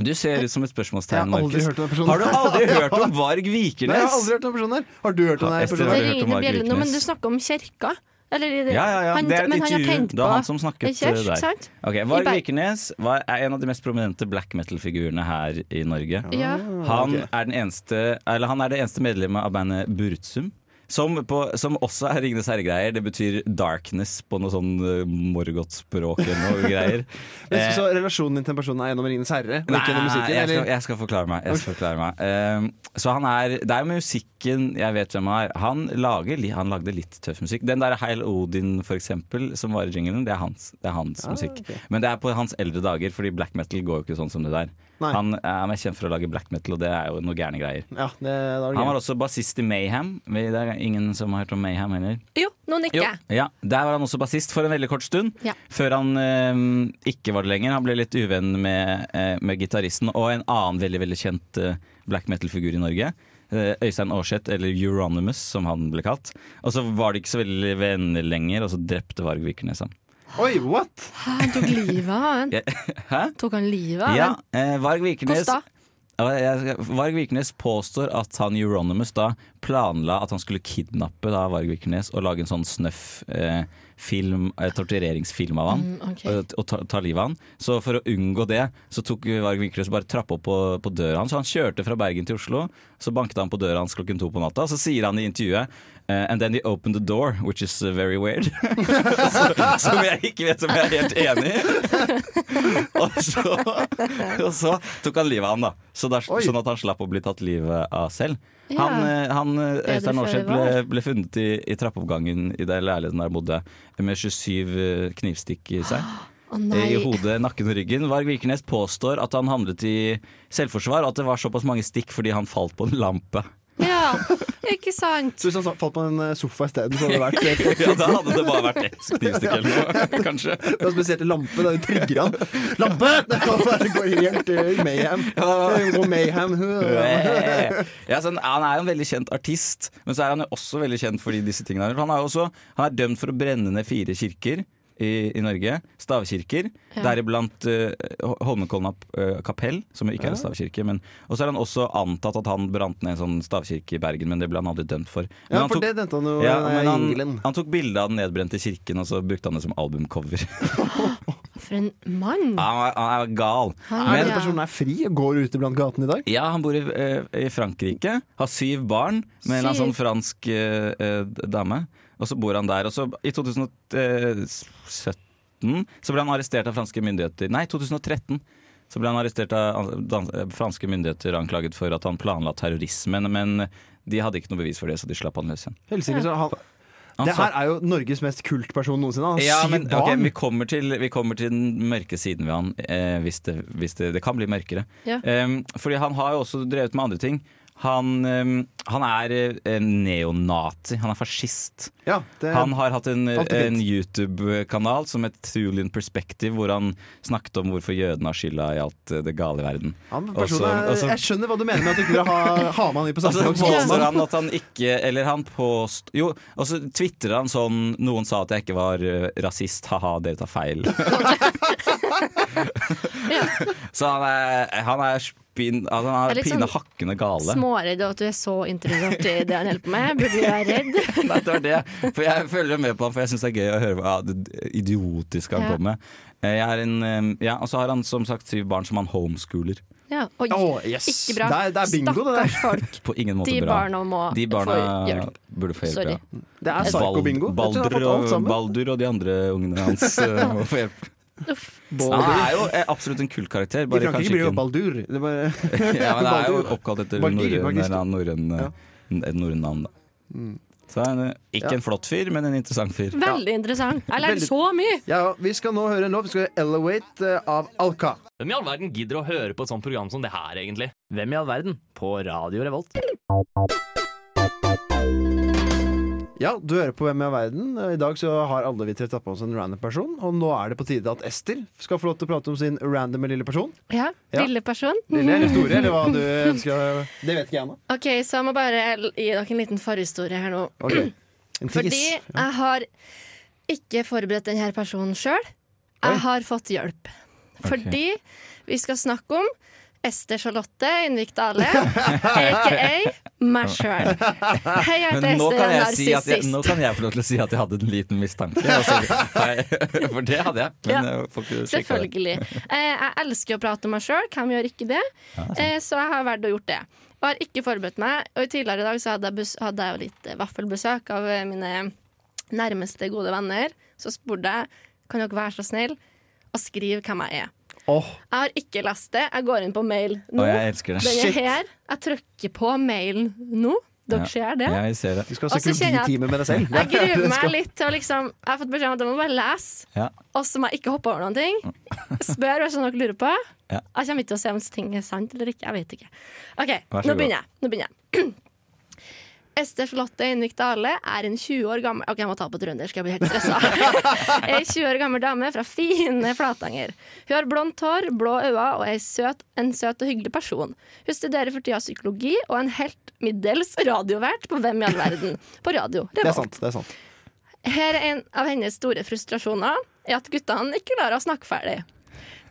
Speaker 1: Du ser ut som et spørsmålstegn,
Speaker 2: Jeg har aldri
Speaker 1: Markus.
Speaker 2: hørt om den personen.
Speaker 1: Har du aldri hørt om Varg
Speaker 2: Nei, jeg har
Speaker 1: Vikernes?
Speaker 2: aldri hørt om personen her. Har du hørt om
Speaker 1: Ja,
Speaker 2: den
Speaker 1: Esther, har
Speaker 2: personen?
Speaker 3: Det
Speaker 1: du hørt
Speaker 3: ringer
Speaker 1: om Margaret
Speaker 3: bjellene, men du
Speaker 1: Kness?
Speaker 3: snakker om kirka. Eller, i det-
Speaker 1: Ja, ja, ja.
Speaker 3: Han,
Speaker 1: Det er et
Speaker 3: men han har
Speaker 1: intervju.
Speaker 3: tenkt på
Speaker 1: Det var han som snakket
Speaker 3: en kirk,
Speaker 1: eh, der.
Speaker 3: Sant?
Speaker 1: Ok,
Speaker 3: I
Speaker 1: Varg
Speaker 3: Berg-
Speaker 1: Vikernes var, er en av de mest prominente black metal-figurene her i Norge.
Speaker 3: Ja.
Speaker 2: Ah.
Speaker 1: Han
Speaker 2: ok.
Speaker 1: er, den eneste, eller han er det eneste medlemmet av bandet Burzum. Som, på, som også er Ringenes herre-greier. Det betyr darkness på noe sånn eh, morgottspråk eller noe greier.
Speaker 2: Jeg
Speaker 1: Eh,
Speaker 2: synes så relasjonen din til den personen er gjennom Ringenes herre? Og ikke gjennom musikken?
Speaker 1: jeg, skal,
Speaker 2: Eller?
Speaker 1: jeg skal forklare meg. Jeg skal forklare meg. Eh, så han er Det er jo musikken jeg vet hvem han er. Han, lager, li- han lagde litt tøff musikk. Den der Heil Odin, for eksempel, som var i jinglen, det er hans, det er
Speaker 2: Ah,
Speaker 1: hans musikk. Men det er på hans eldre dager, fordi black metal går jo ikke sånn som det der.
Speaker 2: Nei.
Speaker 1: Han er mest kjent for å lage black metal, og det er jo noe gærne greier.
Speaker 2: Ja, det, da
Speaker 1: Han
Speaker 2: var
Speaker 1: var
Speaker 2: det gøy.
Speaker 1: også bassist i Mayhem. Det er ingen som har hørt om Mayhem heller.
Speaker 3: Jo, nå nikker jeg.
Speaker 1: Ja, Der var han også bassist for en veldig kort stund.
Speaker 3: Ja.
Speaker 1: Før han eh, ikke var det lenger. Han ble litt uvenn med, eh, med gitaristen og en annen veldig veldig kjent eh, black metal-figur i Norge. Eh, Øystein Aarseth, eller Euronymous, som han ble kalt. Og så var de ikke så veldig venner lenger, og så drepte Varg Vikernes han.
Speaker 2: Oi, what?!
Speaker 3: Hæ, Han tok livet av han.
Speaker 1: Hæ?
Speaker 3: Tok han livet av
Speaker 1: Ja,
Speaker 3: han?
Speaker 1: eh, Varg Vikernes
Speaker 3: Hvordan da?
Speaker 1: Ja, jeg- Varg Vikernes påstår at han Euronymous da planla at han skulle kidnappe da Varg Vikernes og lage en sånn snøff eh, film, eh, tortureringsfilm av han
Speaker 3: Mm, ok.
Speaker 1: og, og ta, ta livet av han. Så for å unngå det, så tok Varg Vikernes bare trappa opp på, på døra hans. Så han kjørte fra Bergen til Oslo, så banket han på døra hans klokken to på natta. Så sier han i intervjuet eh, And then he opened the door, which is eh, very weird. så, som jeg ikke vet om jeg er helt enig i. og, så, og så tok han livet av han, da. Så da
Speaker 2: Oi.
Speaker 1: sånn at han slapp å bli tatt livet av selv.
Speaker 3: Ja.
Speaker 1: Han, eh, han eh,
Speaker 3: Bedre
Speaker 1: Øystein
Speaker 3: før
Speaker 1: Aarseth
Speaker 3: det var.
Speaker 1: ble, ble funnet i, i trappeoppgangen i den leiligheten der han bodde, med 27 knivstikk i seg. Eh,
Speaker 3: Å nei.
Speaker 1: I hodet, nakken og ryggen. Varg Vikernes påstår at han handlet i selvforsvar, og at det var såpass mange stikk fordi han falt på en lampe.
Speaker 3: Ja, ikke sant?
Speaker 2: Så hvis han sa- falt på en eh, sofa isteden, så hadde det vært helt
Speaker 1: Ja, Da hadde det bare vært ett knivstikk eller noe, kanskje.
Speaker 2: Det er spesielt lampe, da, det trigger han. Lampe! Det kan være- går helt eh, mayhem. Det går mayhem.
Speaker 1: ja, så han, han er jo en veldig kjent artist, men så er han jo også veldig kjent fordi disse tingene han gjør. Han er, jo også, han er dømt for å brenne ned fire kirker i, i Norge. Stavkirker. Deriblant uh, Holmenkollen eh, kapell, som jo ikke er en stavkirke. Men, og så er han også antatt at han brant ned en sånn stavkirke i Bergen, men det ble han aldri dømt for. Men
Speaker 2: Ja,
Speaker 1: han
Speaker 2: for
Speaker 1: tok-
Speaker 2: det nevnte han jo
Speaker 1: ja,
Speaker 2: eh,
Speaker 1: men
Speaker 2: i
Speaker 1: han,
Speaker 2: England.
Speaker 1: han tok bilde av den nedbrente kirken, og så brukte han det som albumcover.
Speaker 3: For en mann.
Speaker 1: han, er, han er gal.
Speaker 3: Han
Speaker 2: Er
Speaker 1: Ah, Men-
Speaker 2: denne personen er fri og går ute blant gatene i dag?
Speaker 1: Ja, han bor i, eh, i Frankrike, har syv barn med en eller annen
Speaker 3: Syv.
Speaker 1: sånn fransk eh, eh, dame. Og så bor han der. Og så i 2017 så ble han arrestert av franske myndigheter. Nei, 2013. Så ble han arrestert av dan- eh, franske myndigheter anklaget for at han planla terrorisme. Men de hadde ikke noe bevis for det, så de slapp han løs igjen.
Speaker 2: Helsike, så han
Speaker 1: Han
Speaker 2: Det
Speaker 1: sa-
Speaker 2: her er jo Norges mest kultperson noensinne. Han har
Speaker 1: ja,
Speaker 2: syv
Speaker 1: men, ok,
Speaker 2: barn.
Speaker 1: vi, kommer til, vi kommer til den mørke siden ved han, eh, hvis, det, hvis det, det kan bli mørkere.
Speaker 3: Ja.
Speaker 1: Em, fordi han har jo også drevet med andre ting. Han, em, han er eh, neonazi, han er fascist.
Speaker 2: ja, det,
Speaker 1: Han har hatt en,
Speaker 2: Alt er fint.
Speaker 1: en YouTube-kanal som het Thulian Perspective, hvor han snakket om hvorfor jødene har skylda i alt eh, det gale i verden.
Speaker 2: han
Speaker 1: Og så-
Speaker 2: personen er,
Speaker 1: og så-
Speaker 2: jeg skjønner hva du mener med at du ikke vil ha, ha med han i på
Speaker 1: Og så
Speaker 2: samtalen.
Speaker 1: påstår han at han ikke Eller han påst... Jo, og så tvitrer han sånn Noen sa at jeg ikke var eh, rasist, ha-ha, dere tar feil. så han er, han er spinn... Altså han
Speaker 3: Er
Speaker 1: er
Speaker 3: litt
Speaker 1: pine
Speaker 3: sånn
Speaker 1: hakkende gale.
Speaker 3: Småredd av at du er så interessert i det han holder på med. Burde du være redd?
Speaker 1: Nei, det var det. For jeg følger med på han, for jeg syns det er gøy å høre hva det idiotiske han
Speaker 3: Ja.
Speaker 1: kommer med. Eh, Jeg er en, eh, ja, og så har han som sagt syv barn som han homeschooler.
Speaker 3: Ja. Oi,
Speaker 2: Å, yes.
Speaker 3: ikke bra.
Speaker 2: Det er- det er bingo, det der.
Speaker 3: Stakkars folk.
Speaker 1: På ingen måte
Speaker 3: De
Speaker 1: bra.
Speaker 3: barna må
Speaker 1: De barna
Speaker 3: få hjelp.
Speaker 1: burde få hjelp.
Speaker 3: Sorry.
Speaker 1: ja.
Speaker 2: Det er
Speaker 1: Bald-
Speaker 2: psyko-bingo. Jeg tror han har
Speaker 1: Baldur
Speaker 2: fått alt
Speaker 1: og,
Speaker 2: sammen.
Speaker 1: Baldur og de andre ungene hans eh, må få hjelp.
Speaker 3: Uff.
Speaker 1: Han er jo eh, absolutt en kul karakter.
Speaker 2: I
Speaker 1: Bare
Speaker 2: Frankrike
Speaker 1: kanskje
Speaker 2: blir det
Speaker 1: ikke
Speaker 2: jo Baldur. Det er bare,
Speaker 1: ja, men Det er jo
Speaker 2: Baldur.
Speaker 1: oppkalt etter
Speaker 2: Baldur,
Speaker 1: norrøn-
Speaker 2: faktisk.
Speaker 1: eller norrøn
Speaker 2: Ja. Mm.
Speaker 1: et norrøn navn, da. Så er han eh, ikke en flott fyr, men en interessant fyr.
Speaker 3: Veldig interessant. Jeg lærte
Speaker 2: Veldig-
Speaker 3: så mye!
Speaker 2: ja, vi skal nå høre en låt. Vi skal høre 'Elevate' eh, av Alka.
Speaker 9: Hvem i all verden gidder å høre på et sånt program som det her, egentlig? Hvem i all verden? På Radio Revolt.
Speaker 2: Ja, du hører på Hvem i all verden. Eh, I dag så har alle vi tre tatt på oss en random person. Og nå er det på tide at Ester skal få lov til å prate om sin randomme lille person.
Speaker 3: Ja,
Speaker 2: Ja.
Speaker 3: Lille person.
Speaker 2: Lille eller store, eller hva du ønsker. å- Det vet ikke jeg ennå.
Speaker 3: OK, så jeg må bare gi dere en liten forhistorie her nå.
Speaker 2: Ok. En tis.
Speaker 3: Fordi jeg har ikke forberedt denne personen sjøl. Jeg har fått hjelp. Fordi vi skal snakke om Ester Charlotte Innvik Dale, aka meg sjøl. Hei, jeg heter
Speaker 1: Men nå
Speaker 3: Ester,
Speaker 1: kan,
Speaker 3: jeg er
Speaker 1: jeg si at jeg, nå
Speaker 3: narsissist.
Speaker 1: kan jeg få lov til å si at jeg hadde en liten mistanke. Altså, nei, for det hadde jeg. Men jeg får ikke sjekke det.
Speaker 3: Selvfølgelig. Eh, jeg elsker å prate om meg sjøl, hvem gjør ikke det? Eh, så jeg har valgt å gjort det. Og har ikke forberedt meg. Og tidligere i dag så hadde jeg, bes hadde jeg jo litt eh, vaffelbesøk av eh, mine nærmeste gode venner. Så spurte jeg kan dere være så snill å skrive hvem jeg er.
Speaker 2: Åh,
Speaker 3: Jeg har ikke lest det. Jeg går inn på mail nå.
Speaker 1: Og jeg elsker det.
Speaker 3: Den er her. Jeg trykker på mailen nå. Dere ser det.
Speaker 1: Jeg ser det.
Speaker 2: du skal ha
Speaker 3: Og så kjenner jeg at-
Speaker 2: psykologitime med deg selv.
Speaker 3: Jeg gruer meg litt til å liksom Jeg har fått beskjed om at jeg må bare lese.
Speaker 1: Ja.
Speaker 3: Og så må jeg ikke hoppe over noen ting. Spør hva som dere lurer på.
Speaker 1: Ja.
Speaker 3: Jeg kommer ikke til å se om ting er sant eller ikke. Jeg vet ikke. OK,
Speaker 1: Vær så
Speaker 3: nå
Speaker 1: god.
Speaker 3: begynner jeg. Nå begynner jeg. Ester Charlotte Innvik Dale er en 20 år gammel Ok, jeg må ta på trøndersk, jeg blir helt stressa. er en 20 år gammel dame fra fine Flatanger. Hun har blondt hår, blå øyne og er søt, en søt og hyggelig person. Hun studerer for tida psykologi og er en helt middels radiovert på Hvem i all verden? På radio.
Speaker 2: Det er
Speaker 3: Revolt.
Speaker 2: sant. det er sant
Speaker 3: Her er en av hennes store frustrasjoner, er at guttene ikke klarer å snakke ferdig.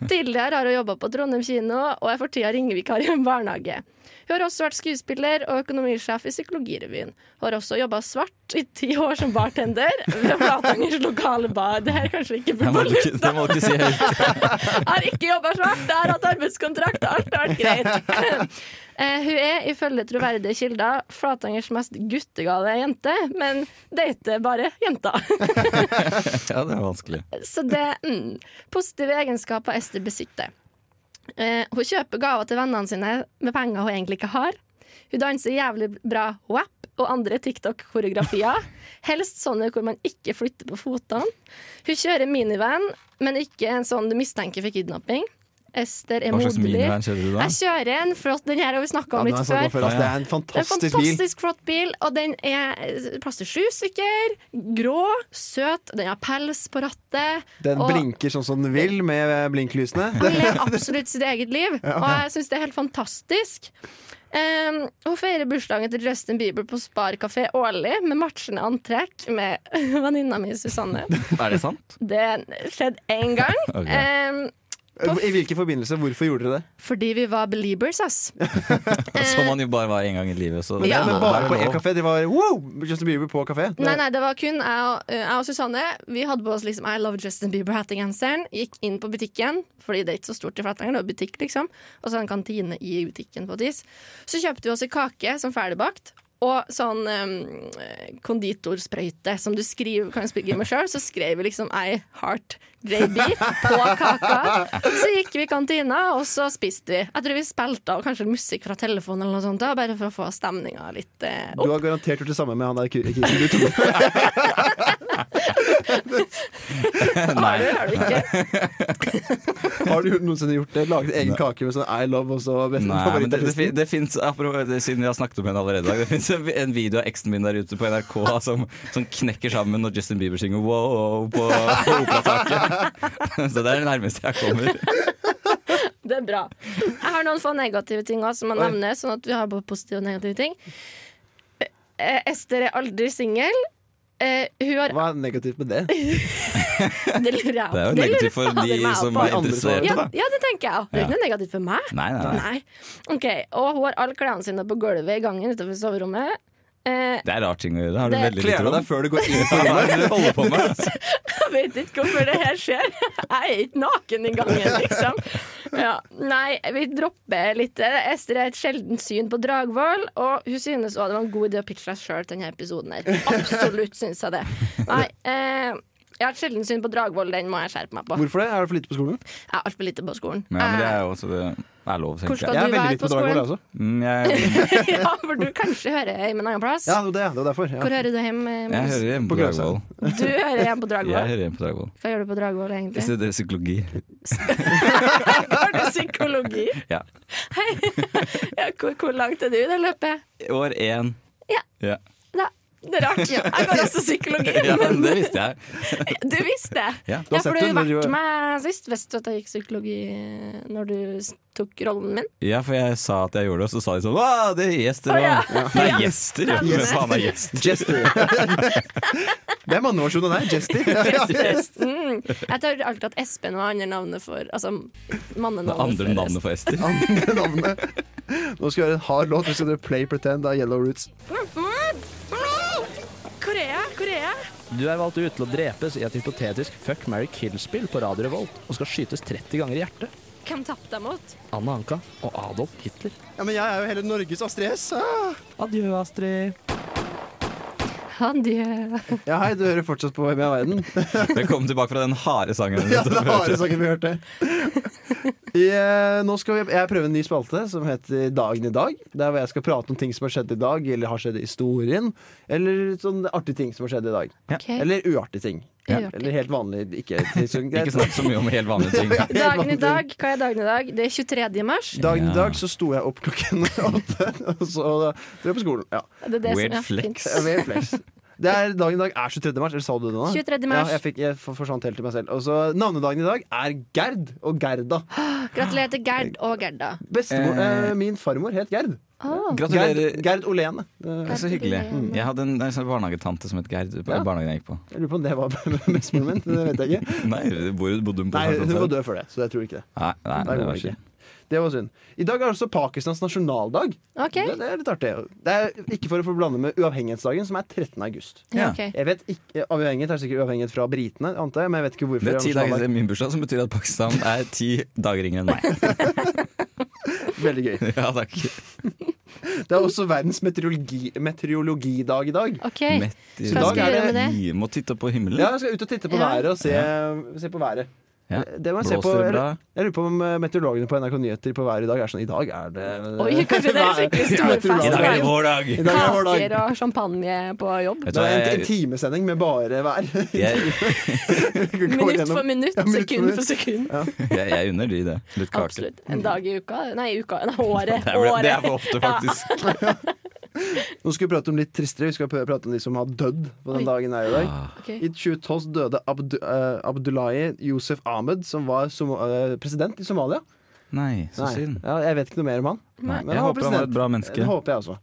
Speaker 3: Tidligere har hun jobba på Trondheim kino og er for tida ringevikar i en barnehage. Hun har også vært skuespiller og økonomisjef i Psykologirevyen. Hun har også jobba svart i ti år som bartender ved Flatangers lokale bar. Det her kanskje vi ikke
Speaker 1: Det må
Speaker 3: burde
Speaker 1: du ikke, det må du ikke si høyt.
Speaker 3: jeg har ikke jobba svart, jeg har hatt arbeidskontrakt, alt har vært greit. Eh, hun er ifølge troverdige kilder Flatangers mest guttegale jente, men dater bare jenter.
Speaker 1: Ja, det er vanskelig.
Speaker 3: Så det mm, Positive egenskaper Ester besitter. Eh, hun kjøper gaver til vennene sine med penger hun egentlig ikke har. Hun danser jævlig bra WAP og andre TikTok-koreografier. Helst sånne hvor man ikke flytter på fotene. Hun kjører minivan, men ikke en sånn du mistenker for kidnapping. Ester er
Speaker 1: Hva slags
Speaker 3: moderlig.
Speaker 1: minivan kjører du da?
Speaker 3: Jeg kjører en flott Den her har vi snakka
Speaker 2: Ja,
Speaker 3: om
Speaker 2: den har
Speaker 3: litt
Speaker 2: jeg snakket om
Speaker 3: før.
Speaker 2: før, ass.
Speaker 1: Ja,
Speaker 2: Det
Speaker 1: ja.
Speaker 2: er en
Speaker 3: Det er en
Speaker 2: fantastisk bil.
Speaker 3: fantastisk flott bil, og den er eh, plass til sju stykker. Grå, søt, den har pels på rattet.
Speaker 2: Den
Speaker 3: og
Speaker 2: blinker sånn som den vil med blinklysene.
Speaker 3: Han lever absolutt sitt eget liv, og jeg syns det er helt fantastisk. Um, hun feirer bursdagen til Justin Bieber på Spar kafé årlig med matchende antrekk med venninna mi Susanne.
Speaker 1: Er det sant?
Speaker 3: Det skjedde én gang.
Speaker 1: Ok.
Speaker 3: Um,
Speaker 2: I hvilken forbindelse? Hvorfor gjorde dere det?
Speaker 3: fordi vi var beliebers, ass.
Speaker 1: Som man jo bare var én gang i livet. Så
Speaker 2: Men,
Speaker 3: Ja.
Speaker 2: men bare på én kafé? De var wow! Justin Bieber på kafé? Det-
Speaker 3: Nei, nei, det var kun jeg og, eh, jeg og Susanne. Vi hadde på oss liksom I love Justin Bieber-hattegenseren. Gikk inn på butikken, fordi det er ikke så stort i Flatanger, det er butikk, liksom. Og så en kantine i butikken på et vis. Så kjøpte vi oss en kake som ferdigbakt. Og sånn eh, konditorsprøyte som du skriver, kan spille med sjøl. Så skrev vi liksom I heart JB på kaka. Så gikk vi i kantina, og så spiste vi. Jeg tror vi spilte av kanskje musikk fra telefonen, eller noe sånt, da, bare for å få stemninga litt eh, opp.
Speaker 2: Du har garantert gjort det samme med han der kisen du tok.
Speaker 3: Nei, det har du ikke.
Speaker 2: Har du noensinne gjort det? Laget egen kake med sånn I love og så best-
Speaker 1: Nei,
Speaker 2: favoritt-
Speaker 1: men det, det, fin- det finnes, apropos, det, Siden vi har snakket om henne allerede i dag, det fins en, en video av eksen min der ute på NRK som, som knekker sammen når Justin Bieber synger 'wow' på, på operataket. Så det er det nærmeste jeg kommer.
Speaker 3: Det er bra. Jeg har noen få negative ting også, som må nevnes, sånn at vi har både positive og negative ting. Eh, Ester er aldri singel. Eh, hun har
Speaker 2: Hva er negativt med det?
Speaker 3: Det lurer jeg
Speaker 1: Det er jo
Speaker 3: på. lurer
Speaker 1: negativt for
Speaker 3: fader
Speaker 1: de
Speaker 3: meg
Speaker 1: som
Speaker 3: på.
Speaker 1: er interessert.
Speaker 3: ja, ja, det tenker jeg. Det er ikke noe negativt for meg.
Speaker 1: Nei, nei, nei.
Speaker 3: Nei. OK. Og hun har alle klærne sine på gulvet i gangen utenfor soverommet. Eh,
Speaker 1: Det er rar ting å gjøre. Har du
Speaker 3: Det-
Speaker 1: veldig lite
Speaker 2: Kler du deg
Speaker 1: rom?
Speaker 2: før du går inn på
Speaker 1: Hva
Speaker 2: rommet?
Speaker 1: er det du holder på med?
Speaker 3: Jeg vet ikke hvorfor det her skjer. Jeg er ikke naken i gangen, liksom. Ja. Nei, vi dropper litt. Ester er et sjeldent syn på Dragvoll, og hun synes også det var en god idé å pitche seg sjøl til denne episoden her. Absolutt syns jeg det. Nei, eh, jeg har et sjeldent syn på Dragvoll, den må jeg skjerpe meg på.
Speaker 2: Hvorfor det? Er du for lite på skolen?
Speaker 3: Jeg er altfor lite på skolen.
Speaker 1: Ja, men det er jo også det er lov,
Speaker 3: Hvor
Speaker 1: tenker jeg.
Speaker 2: Jeg er
Speaker 3: skal du
Speaker 2: veldig
Speaker 3: være
Speaker 2: lite
Speaker 3: på
Speaker 2: på Dragvoll, jeg
Speaker 3: skolen?
Speaker 2: også.
Speaker 1: Mm, jeg,
Speaker 3: Eh, ja, for du kanskje hører hjemme en annen plass.
Speaker 2: Ja, det var det. Det var derfor. Ja.
Speaker 3: Hvor hører du hjemme?
Speaker 1: jeg hører hjemme
Speaker 2: På
Speaker 1: på
Speaker 2: Gløshaugen.
Speaker 1: Dragvoll.
Speaker 3: Du hører hjemme på
Speaker 1: Jeg
Speaker 3: Dragvoll.
Speaker 1: hører hjemme på Dragvoll.
Speaker 3: Hva gjør du på Dragvoll,
Speaker 1: Jeg
Speaker 3: egentlig?
Speaker 1: studerer psykologi.
Speaker 3: Har du psykologi?
Speaker 1: Ja.
Speaker 3: Ja, hvor, hvor langt er du i det løpet?
Speaker 1: År én.
Speaker 3: Ja.
Speaker 1: Ja.
Speaker 3: Da, det er rart. Jeg går også psykologi,
Speaker 1: ja, men
Speaker 3: men
Speaker 1: det visste jeg.
Speaker 3: du visste det.
Speaker 1: Ja.
Speaker 3: Ja,
Speaker 2: sett
Speaker 3: for du
Speaker 2: det når du-
Speaker 3: vært med sist. Visste du at jeg gikk psykologi når du s- tok rollen min?
Speaker 1: Ja, for jeg sa at jeg gjorde det, og så sa de sånn Å, det er gjester
Speaker 3: Å, ja.
Speaker 1: også». Nei, gjester! ja. Hvem faen er gjester?
Speaker 2: Jester. Det er manneversjonen der. Jester.
Speaker 3: Mm. Jeg tror alltid at Espen var andre navnet for Altså
Speaker 1: Det
Speaker 3: mannenavnet. for
Speaker 1: andre
Speaker 3: Espen.
Speaker 1: navnet for Ester.
Speaker 2: Andre navnet. Nå skal vi høre en hard låt. Vi skal høre Play Pretend av Yellow Roots.
Speaker 3: Korea, Korea.
Speaker 5: Du er valgt ut til å drepes i et Altså, hypotetisk Fuck, marry, kill-spill på Radio Revolt og skal skytes 30 ganger i hjertet.
Speaker 3: Hvem tapte jeg mot?
Speaker 5: Anna Anka og Adolf Hitler.
Speaker 2: Ja, men jeg er jo hele Norges Astrid S. Ah.
Speaker 5: Adjø, Astrid.
Speaker 3: Adjø.
Speaker 2: Ja, hei, du hører fortsatt på Hvem er verden?
Speaker 1: Velkommen tilbake fra den harde sangen.
Speaker 2: Ja, det er harde saken vi hørte. I, eh, nå skal vi, jeg prøver en ny spalte som heter Dagen i dag. Der hvor jeg skal prate om ting som har skjedd i dag, eller har skjedd i historien. Eller sånne artige ting som har skjedd i dag.
Speaker 3: Ok.
Speaker 2: Eller uartige ting.
Speaker 3: Uartig.
Speaker 2: Eller helt vanlig. Ikke,
Speaker 1: Ikke snakk så mye om helt vanlige ting.
Speaker 2: Helt
Speaker 3: Dagen i
Speaker 2: vanlig.
Speaker 3: dag, hva er dagen i dag? Det er 23. mars.
Speaker 2: Dagen i
Speaker 1: Ja.
Speaker 2: dag så sto jeg opp klokken åtte, og så dro jeg på skolen. Ja.
Speaker 3: Det er det
Speaker 1: Weird
Speaker 3: som, ja,
Speaker 1: flex.
Speaker 3: fint.
Speaker 2: Jeg vet flex. Det er, dagen i dag er 23. mars. Eller sa du det nå?
Speaker 3: 23. mars.
Speaker 2: Ja, jeg, fikk, jeg for- forsvant helt til meg selv. Og så Navnedagen i dag er Gerd og Gerda.
Speaker 3: Gratulerer til Gerd og Gerda.
Speaker 2: Bestemor,
Speaker 1: Eh.
Speaker 2: eh, min farmor het Gerd.
Speaker 1: Ah,
Speaker 2: Gerd,
Speaker 1: Gratulerer.
Speaker 2: Gerd Olene. Eh,
Speaker 1: Det er Så hyggelig.
Speaker 3: Mm.
Speaker 1: Jeg hadde en, en sånn barnehagetante som het Gerd. På
Speaker 2: Ja.
Speaker 1: barnehagen jeg gikk på.
Speaker 2: Jeg lurer på om det var bestemoren min. Det vet jeg ikke.
Speaker 1: Nei, bor- bodde hun på
Speaker 2: Nei, hun
Speaker 1: Sankt
Speaker 2: var
Speaker 1: Hansson?
Speaker 2: død før det, så jeg tror ikke det.
Speaker 1: Nei, nei,
Speaker 2: Nei,
Speaker 1: det
Speaker 2: hun var
Speaker 1: var
Speaker 2: ikke.
Speaker 1: ikke.
Speaker 2: Det var synd. I dag er også Pakistans nasjonaldag.
Speaker 3: OK.
Speaker 2: Det, det er litt artig. Det er ikke for å få blande med uavhengighetsdagen, som er 13. august.
Speaker 1: Ja.
Speaker 3: Ja, ok.
Speaker 2: Jeg vet ikke, eh, Avhengighet er sikkert uavhengighet fra britene, antar jeg, men jeg vet ikke hvorfor.
Speaker 1: Det er
Speaker 2: det er
Speaker 1: ti dager
Speaker 2: nasjonaldag.
Speaker 1: etter min bursdag, som betyr at Pakistan er ti dager yngre enn meg.
Speaker 2: Veldig gøy.
Speaker 1: Ja, takk.
Speaker 2: Det er også verdens meteorologi, meteorologidag i dag.
Speaker 3: Ok.
Speaker 1: Mett i
Speaker 3: Hva
Speaker 2: dag
Speaker 3: skal jeg
Speaker 2: er
Speaker 3: gjøre med det?
Speaker 1: Vi må titte på himmelen.
Speaker 2: Ja, jeg skal ut og titte på
Speaker 3: Ja.
Speaker 2: været og se, se på været.
Speaker 1: Ja.
Speaker 2: Det må jeg se på.
Speaker 1: Blåser det
Speaker 2: Jeg,
Speaker 1: bra?
Speaker 2: jeg lurer på om eh, meteorologene på NRK Nyheter på været i dag er sånn I dag er det
Speaker 3: Oi, kanskje det er sånn
Speaker 2: Ja,
Speaker 3: skikkelig stor
Speaker 1: I
Speaker 2: meteorologene.
Speaker 1: dag er det vår
Speaker 2: I
Speaker 1: dag!
Speaker 2: dag er det vår dag.
Speaker 3: Kaker og champagne på jobb.
Speaker 1: Vet du
Speaker 2: Det
Speaker 1: hva,
Speaker 2: er en, en
Speaker 1: jeg,
Speaker 2: timesending med bare vær.
Speaker 1: jeg,
Speaker 2: Vi går
Speaker 3: Minutt
Speaker 2: gjennom-
Speaker 3: for minutt,
Speaker 2: Ja, minutt for
Speaker 3: sekund for
Speaker 2: minutt.
Speaker 3: sekund.
Speaker 1: jeg, jeg unner de det. Litt kake.
Speaker 3: Absolutt. En dag i uka. Nei, uka. Nei, året.
Speaker 1: Det er, vel- det er for
Speaker 3: Året.
Speaker 1: ofte, faktisk.
Speaker 2: Nå skal vi prate om litt tristere. Vi skal prø- prate om de som har dødd på
Speaker 3: Oi.
Speaker 2: den dagen her i dag. I
Speaker 1: Ah.
Speaker 3: Ok.
Speaker 2: 2012 døde Abdu eh, Abdullahi Yusuf Ahmed, som var som, eh, president i Somalia.
Speaker 1: Nei, så
Speaker 2: Nei,
Speaker 1: synd.
Speaker 2: ja, jeg vet ikke noe mer om han.
Speaker 1: Nei,
Speaker 2: Men
Speaker 1: jeg
Speaker 2: han
Speaker 1: håper
Speaker 2: var
Speaker 1: han var
Speaker 2: president.
Speaker 1: et bra menneske.
Speaker 2: Det håper jeg også.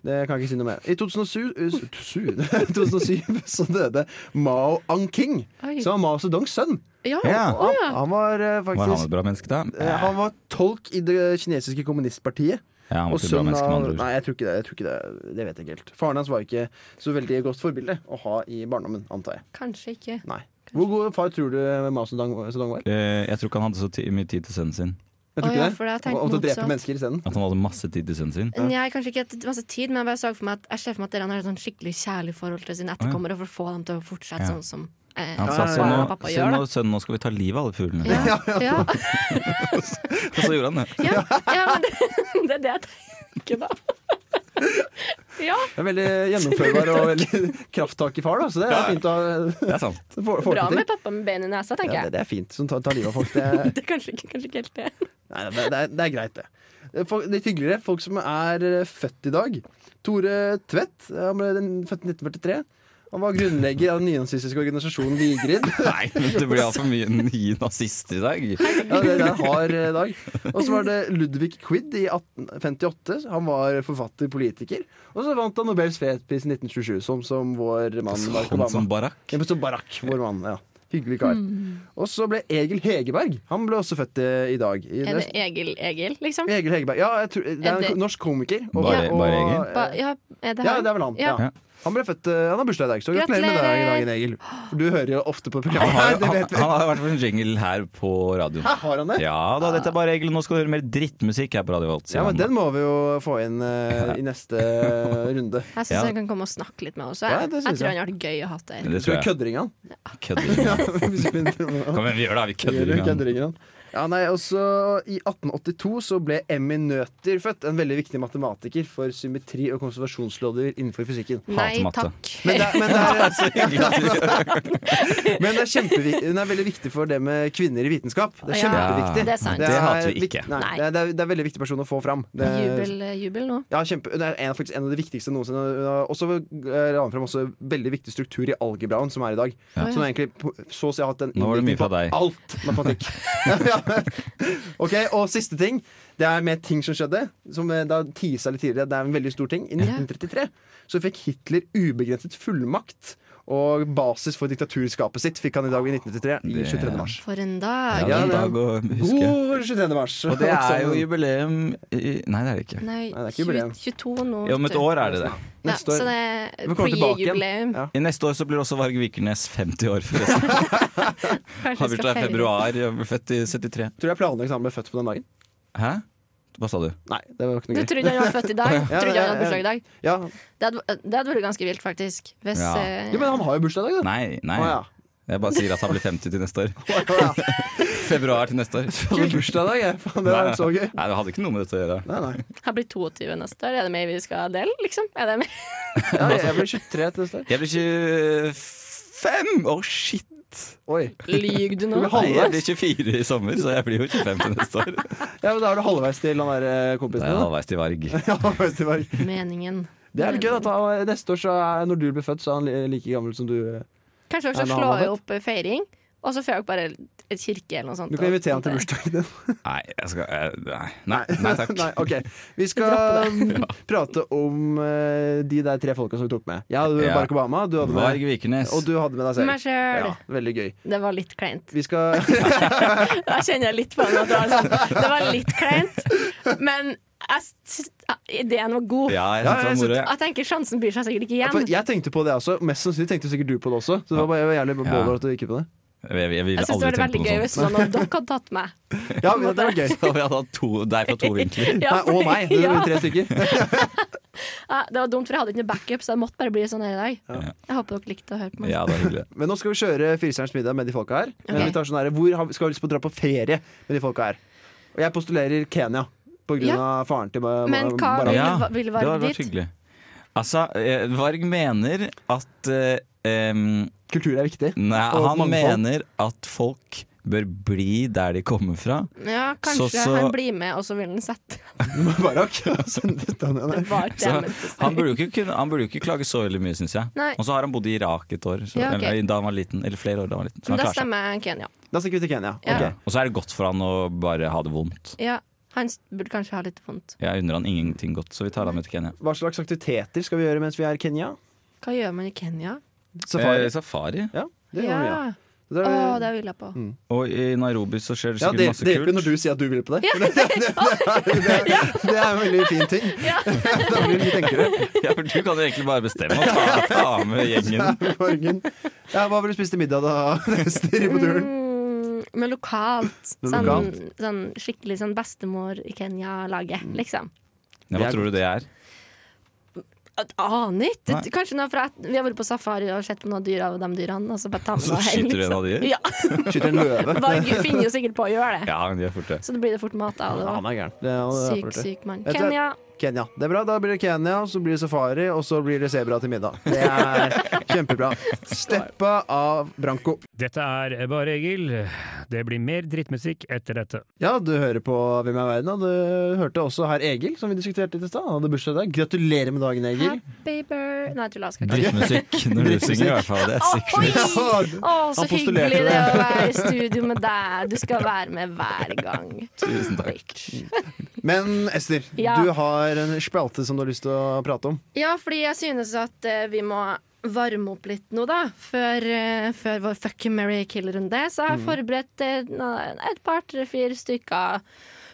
Speaker 2: Det kan jeg ikke si noe mer. I 2007, eh, s- 2007, 2007 så døde Mao Anking,
Speaker 3: Oi.
Speaker 2: som var Mao Zedongs sønn.
Speaker 3: Ja.
Speaker 1: Ja.
Speaker 3: Å, ja.
Speaker 2: Han var eh,
Speaker 1: Var han
Speaker 2: faktisk
Speaker 1: et bra menneske, da?
Speaker 2: eh, Han var tolk i det kinesiske kommunistpartiet.
Speaker 1: Ja, han var
Speaker 2: Og
Speaker 1: ikke et bra
Speaker 2: sønn
Speaker 1: menneske, med
Speaker 2: av
Speaker 1: andre ord.
Speaker 2: Nei, jeg tror ikke det. Jeg tror ikke det, det vet jeg ikke helt. Faren hans var ikke så veldig godt forbilde å ha i barndommen, antar jeg.
Speaker 3: Kanskje ikke.
Speaker 2: Nei. Hvor god far tror du Mao Zedong Zedong var?
Speaker 1: Eh, Jeg tror ikke han hadde så ti- mye tid til sønnen sin.
Speaker 2: Jeg
Speaker 3: Å
Speaker 2: tror
Speaker 3: ja,
Speaker 2: ikke
Speaker 3: for jeg har
Speaker 2: det.
Speaker 3: tenkt
Speaker 2: Og til å drepe
Speaker 3: motsatt.
Speaker 2: mennesker isteden.
Speaker 1: At han hadde masse tid til sønnen sin.
Speaker 3: Nei, kanskje ikke et- masse tid, men jeg bare så for meg at jeg ser for meg at dere har et sånn skikkelig kjærlig forhold til sine etterkommere for å få dem til å fortsette
Speaker 1: Ja.
Speaker 3: sånn som eh,
Speaker 1: Han
Speaker 3: ja,
Speaker 1: sa
Speaker 2: ja,
Speaker 1: se
Speaker 2: ja.
Speaker 1: nå,
Speaker 3: mamma og pappa
Speaker 1: se
Speaker 3: gjør.
Speaker 1: nå,
Speaker 3: Da.
Speaker 1: sønn, nå skal vi ta livet av alle fuglene.
Speaker 3: Ja, ja, ja,
Speaker 1: Og så gjorde han det.
Speaker 3: ja, men det, det er det jeg tenker, da. Ja,
Speaker 2: Det er veldig gjennomførbar og veldig krafttak i far, da. Så det er fint å
Speaker 1: Det er sant.
Speaker 2: få få
Speaker 3: bra
Speaker 2: det
Speaker 3: med
Speaker 2: til.
Speaker 3: pappa med bein i nesa,
Speaker 2: Ja,
Speaker 3: tenker
Speaker 2: det,
Speaker 3: jeg.
Speaker 2: det er fint. Som tar, tar livet av folk. Det,
Speaker 3: Det er kanskje ikke, kanskje ikke helt det.
Speaker 2: nei, det, det, er, det er greit, det. Folk, litt hyggeligere. Folk som er eh, født i dag. Tore Tvedt. eh, Han ble den, født i 1943. Han var grunnlegger av den nynazistiske organisasjonen Vigrid.
Speaker 1: Nei, men det blir altfor mye nye nazister i dag.
Speaker 2: Ja, det, det er en hard eh, dag. Og så var det Ludvig Quid i 1858. Han var forfatter, politiker. Og så vant han Nobels fredspris i 1927, som, som vår mann Barack
Speaker 1: Han
Speaker 2: Obama.
Speaker 1: som Barack.
Speaker 2: Ja, men så Barack, vår mann. ja Hyggelig kar.
Speaker 3: Mm.
Speaker 2: Og så ble Egil Hegerberg. Han ble også født eh, i dag. I
Speaker 3: Er det Egil Egil, liksom?
Speaker 2: Egil Hegerberg. Ja, jeg tror, det er
Speaker 3: Er
Speaker 2: en
Speaker 3: det-
Speaker 2: ko- norsk komiker.
Speaker 1: Bare- bare Egil?
Speaker 2: eh,
Speaker 3: Ba, ja, er det
Speaker 2: ja,
Speaker 3: han?
Speaker 2: det er vel han. Ja.
Speaker 3: Ja.
Speaker 2: Han ble født, eh, han har bursdag i dag, så gratulerer med dagen,
Speaker 3: Gratulerer!
Speaker 2: dagen, Egil. For Du hører jo ofte på
Speaker 1: Han
Speaker 2: programmet.
Speaker 1: har,
Speaker 2: Nei, det
Speaker 1: han,
Speaker 2: vet vi.
Speaker 1: han har vært for en jingle her på radioen.
Speaker 2: Hæ, har han det? Ja,
Speaker 1: Ja da, dette er bare regelen. Nå skal du høre mer drittmusikk her på Radio Volt. sier
Speaker 2: men
Speaker 1: han da.
Speaker 2: Den må vi jo få inn eh, i neste eh, runde.
Speaker 3: Jeg syns
Speaker 1: Ja.
Speaker 3: han kan komme og snakke litt med oss.
Speaker 2: Ja,
Speaker 3: Jeg,
Speaker 2: det synes
Speaker 3: jeg tror
Speaker 2: jeg.
Speaker 3: han har det gøy å ha det her.
Speaker 1: Det
Speaker 2: Jeg
Speaker 1: tror
Speaker 2: tror vi
Speaker 1: jeg.
Speaker 2: kødderinger han.
Speaker 1: Kødder.
Speaker 2: Hvis vi begynner med han.
Speaker 1: Kom igjen, vi gjør det. Vi
Speaker 2: Gjør
Speaker 1: kødder.
Speaker 2: det,
Speaker 1: igjen.
Speaker 2: kødderinger han. Ja, nei, også I 1882 så ble Emmy Nøther født, en veldig viktig matematiker for symmetri og konservasjonslover innenfor fysikken.
Speaker 3: Nei
Speaker 1: Hater matte.
Speaker 3: takk.
Speaker 2: Men det, er- men det er, men det er kjempeviktig Hun er veldig viktig for det med kvinner i vitenskap. Det er
Speaker 3: Ja,
Speaker 2: kjempeviktig.
Speaker 3: det er sant.
Speaker 1: Det hater vi
Speaker 2: vik-
Speaker 1: ikke.
Speaker 2: Nei,
Speaker 3: Nei.
Speaker 2: Det, er, det, er, det er veldig viktig person å få fram. Det er-
Speaker 3: Jubel, eh, jubel nå.
Speaker 2: Ja, kjempe, hun er en, av- faktisk en av de viktigste noensinne. Hun har også eh, ranet fram også veldig viktig struktur i algebraen som er i dag. Så hun har egentlig på- så å si hatt en
Speaker 1: Nå var det
Speaker 2: innvirkning
Speaker 1: mye fra
Speaker 2: på
Speaker 1: deg.
Speaker 2: alt matematikk. Ja, ja. ok, Og siste ting. Det er med ting som skjedde. Som eh, da tisa litt tidligere Det er en veldig stor ting. I 1933 så fikk Hitler ubegrenset fullmakt. Og basis for diktaturskapet sitt fikk han i dag i 1933. I
Speaker 1: Det-
Speaker 2: 23. mars.
Speaker 3: For en
Speaker 1: Ja,
Speaker 3: dag.
Speaker 1: det er en
Speaker 2: Ja,
Speaker 1: dag å huske.
Speaker 2: God 23. mars.
Speaker 1: Og det er jo jubileum i- Nei, det er det ikke.
Speaker 3: Nei,
Speaker 2: Nei, det er ikke jubileum.
Speaker 3: 20, 22 nå.
Speaker 1: Ja, om et
Speaker 3: vet du.
Speaker 1: år er det det.
Speaker 2: Neste
Speaker 3: Ja, så
Speaker 2: år.
Speaker 3: det
Speaker 2: Vi
Speaker 3: er
Speaker 2: kommer tilbake igjen.
Speaker 3: pre-jubileum.
Speaker 2: Ja.
Speaker 1: I neste år så blir også Varg Vikernes 50 år, forresten.
Speaker 3: Kanskje
Speaker 1: Han
Speaker 3: vi
Speaker 1: bursdag i
Speaker 3: feire.
Speaker 1: februar, og ble født i 73.
Speaker 2: Tror jeg planlegger at han ble født på den dagen.
Speaker 1: Hæ? Hva sa du?
Speaker 2: Nei, det var ikke
Speaker 3: Du
Speaker 2: noe gøy.
Speaker 3: trodde han var født i dag?
Speaker 2: Ja,
Speaker 3: Trodde han hadde
Speaker 2: ja, ja.
Speaker 3: bursdag i dag?
Speaker 2: Ja.
Speaker 3: Det hadde, det hadde vært ganske vilt, faktisk. Hvis,
Speaker 1: Ja.
Speaker 3: eh,
Speaker 2: Jo, men han har jo bursdag i dag, da.
Speaker 1: Nei, nei.
Speaker 2: Å, ja.
Speaker 1: Jeg bare sier at han blir 50 til neste år.
Speaker 2: Å, ja.
Speaker 1: Februar til neste år.
Speaker 2: Hadde bursdag i dag, jeg. Faen, det var så gøy.
Speaker 1: Nei, det hadde ikke noe med dette å gjøre.
Speaker 2: Nei, nei.
Speaker 3: han blir 22 neste år. Er det mer vi skal dele, liksom? Er det mer?
Speaker 2: Ja, jeg blir 23 til neste år.
Speaker 1: Jeg blir 25! Å, shit!
Speaker 2: Oi.
Speaker 3: Lyg du
Speaker 2: Du
Speaker 3: nå?
Speaker 1: Nei,
Speaker 2: blir
Speaker 1: jeg
Speaker 2: halvveis.
Speaker 1: blir 24 i sommer, så jeg blir jo 25 til neste år.
Speaker 2: Ja, men da er du halvveis til han der eh,
Speaker 1: Det
Speaker 2: kompisen
Speaker 1: er
Speaker 2: din. da.
Speaker 1: halvveis til Varg.
Speaker 2: Ja, halvveis til Varg.
Speaker 3: Meningen.
Speaker 2: Det er litt gøy. At han, neste år, så er, når du blir født, så er han li- like gammel som du. eh.
Speaker 3: Kanskje
Speaker 2: Ja,
Speaker 3: også
Speaker 2: men han
Speaker 3: slå
Speaker 2: var født.
Speaker 3: opp eh, feiring Og så får jeg bare et kirke eller noe sånt.
Speaker 2: Du kan
Speaker 3: og-
Speaker 2: invitere han til bursdagen din.
Speaker 1: Nei, jeg skal eh, Nei, nei, nei takk.
Speaker 2: Nei, ok. Vi skal um, prate om eh, de der tre folka som vi tok med. Jeg hadde med
Speaker 1: Ja.
Speaker 2: Barack Obama, du hadde
Speaker 1: Varg
Speaker 2: med,
Speaker 1: Vikernes.
Speaker 2: og du hadde med deg
Speaker 3: Meg
Speaker 2: selv.
Speaker 3: selv.
Speaker 2: Ja, veldig gøy.
Speaker 3: Det var litt kleint.
Speaker 2: Vi skal
Speaker 3: Da kjenner jeg litt på den at det var, sånn, det var litt kleint. Men jeg, s- ideen var god.
Speaker 1: Ja, jeg
Speaker 2: Ja,
Speaker 1: synes det
Speaker 2: jeg
Speaker 1: var moro. ja.
Speaker 3: Jeg tenker sjansen byr seg sikkert ikke
Speaker 2: For
Speaker 3: igjen.
Speaker 2: Jeg tenkte på det også. Mest sannsynlig tenkte sikkert du på det også. Så det var bare jævlig baller at du gikk på det.
Speaker 1: Jeg, jeg ville
Speaker 3: Jeg syns det
Speaker 1: aldri
Speaker 3: hadde vært
Speaker 1: tenkt på
Speaker 3: veldig gøy
Speaker 1: noe sånt.
Speaker 3: hvis noen av dere hadde tatt meg.
Speaker 2: Ja, men det var gøy.
Speaker 1: Så vi hadde hatt to, deg fra to vinkler.
Speaker 3: Ja,
Speaker 2: Nei, og meg. Det
Speaker 3: ja.
Speaker 2: var tre stykker.
Speaker 3: Ja, det var dumt, for jeg hadde ikke noe backup, så det måtte bare bli sånn her i dag.
Speaker 1: Ja.
Speaker 3: Jeg håper dere likte å høre på meg.
Speaker 1: Ja, det var hyggelig.
Speaker 2: Men nå skal vi kjøre Firestjerners middag med de folka her. Men
Speaker 3: Ok.
Speaker 2: vi tar sånn her, Hvor har vi, skal vi lyst på å dra på ferie med de folka her? Og jeg postulerer Kenya. På grunn
Speaker 3: Ja.
Speaker 2: av faren til Ba- Ba-
Speaker 3: Men hva
Speaker 2: Barack.
Speaker 3: vil,
Speaker 1: Ja,
Speaker 3: vil
Speaker 1: Det
Speaker 3: Varg
Speaker 1: hadde vært
Speaker 3: dit?
Speaker 1: hyggelig. Altså, eh, Varg mener at eh, em,
Speaker 2: Kultur er viktig.
Speaker 1: Nei,
Speaker 2: Og
Speaker 1: han
Speaker 2: mangfold.
Speaker 1: mener at folk bør bli der de kommer fra.
Speaker 3: Ja, kanskje
Speaker 1: Så- så-
Speaker 3: han blir med, og så vil han sette
Speaker 2: Barack. Send ut han igjen
Speaker 3: Det
Speaker 2: her.
Speaker 3: var det
Speaker 1: Så
Speaker 3: jeg mente å si.
Speaker 1: han burde jo ikke, kunne- han burde jo ikke klage så veldig mye, syns jeg.
Speaker 3: Nei.
Speaker 1: Og så har han bodd i Irak et år, så,
Speaker 3: Ja, ok.
Speaker 1: eller, da han var liten. Eller flere år da han var liten. Så han
Speaker 3: Men da
Speaker 1: klarer seg.
Speaker 3: stemmer jeg Kenya.
Speaker 2: Da stikker vi til Kenya.
Speaker 3: Ja.
Speaker 2: Ok.
Speaker 1: Og så er det godt for han å bare ha det vondt.
Speaker 3: Ja, han s- burde kanskje ha litt vondt.
Speaker 1: Jeg unner han ingenting godt, så vi tar han med til Kenya.
Speaker 2: Hva slags aktiviteter skal vi gjøre mens vi er i Kenya?
Speaker 3: Hva gjør man i Kenya?
Speaker 2: Safari.
Speaker 1: Eh, safari.
Speaker 2: Ja, det gjør
Speaker 3: Ja,
Speaker 2: vi, ja. Mm. Det
Speaker 3: Å,
Speaker 2: er-
Speaker 3: det vil jeg på.
Speaker 1: Og i Nairobi så skjer det
Speaker 2: Ja,
Speaker 1: sikkert
Speaker 2: det,
Speaker 1: masse
Speaker 2: det hjelper
Speaker 1: kult.
Speaker 2: når du sier at du vil på det. Det, det, det, det, er, det er en veldig fin ting.
Speaker 3: Ja.
Speaker 2: Da blir vi tenkere.
Speaker 1: Ja, for du kan jo egentlig bare bestemme og ta, ta med gjengen.
Speaker 2: Morgen. Ja, hva vil du spise til middag, da, Ester, på turen?
Speaker 3: Mm, men lokalt.
Speaker 2: Men
Speaker 3: Sånn,
Speaker 2: lokalt. Mm.
Speaker 3: sånn skikkelig sånn bestemor i Kenya-laget, liksom.
Speaker 1: Ja, hva tror du det er?
Speaker 3: Jeg Aner ikke.
Speaker 1: Nei.
Speaker 3: Kanskje noe fra at vi har vært på safari og sett på noen dyr av de dyrene. Og så bare ta med
Speaker 1: Så
Speaker 3: meg hjem, liksom.
Speaker 1: skyter du en av de?
Speaker 3: Ja.
Speaker 2: Skyter en løve.
Speaker 3: Varg finner jo sikkert på å gjøre det.
Speaker 1: Ja, men de er fort det.
Speaker 3: Så det blir det fort mat av det. også.
Speaker 2: er gæren. Det er- det er
Speaker 3: Syk,
Speaker 2: for det.
Speaker 3: syk mann.
Speaker 2: Jeg tror-
Speaker 3: Kenya.
Speaker 2: Kenya. Det er bra. Da blir det Kenya, så blir det safari, og så blir det sebra til middag. Det er kjempebra. Steppa av Branko.
Speaker 10: Dette er Bare Egil. Det blir mer drittmusikk etter dette.
Speaker 2: Ja, du hører på Hvem er verden, og du hørte også herr Egil, som vi diskuterte litt i stad. Han hadde bursdag i dag. Gratulerer med dagen, Egil.
Speaker 3: Happy birthday Nei, tulla. Skal ikke
Speaker 1: Drittmusikk når du synger, i hvert fall. Det er sikkert.
Speaker 3: Oi!
Speaker 2: Ja,
Speaker 3: Å, så
Speaker 2: Han postulerte
Speaker 3: hyggelig det
Speaker 2: det.
Speaker 3: å være i studio med deg. Du skal være med hver gang.
Speaker 1: Tusen takk.
Speaker 2: Men Ester,
Speaker 3: Ja.
Speaker 2: du har en spalte som du har lyst til å prate om.
Speaker 3: Ja, fordi jeg synes at eh, vi må varme opp litt nå, da. Før, eh, før vår fuck Mary kill-runde. Så jeg har
Speaker 2: Mm.
Speaker 3: forberedt eh, na- et par, tre, fire stykker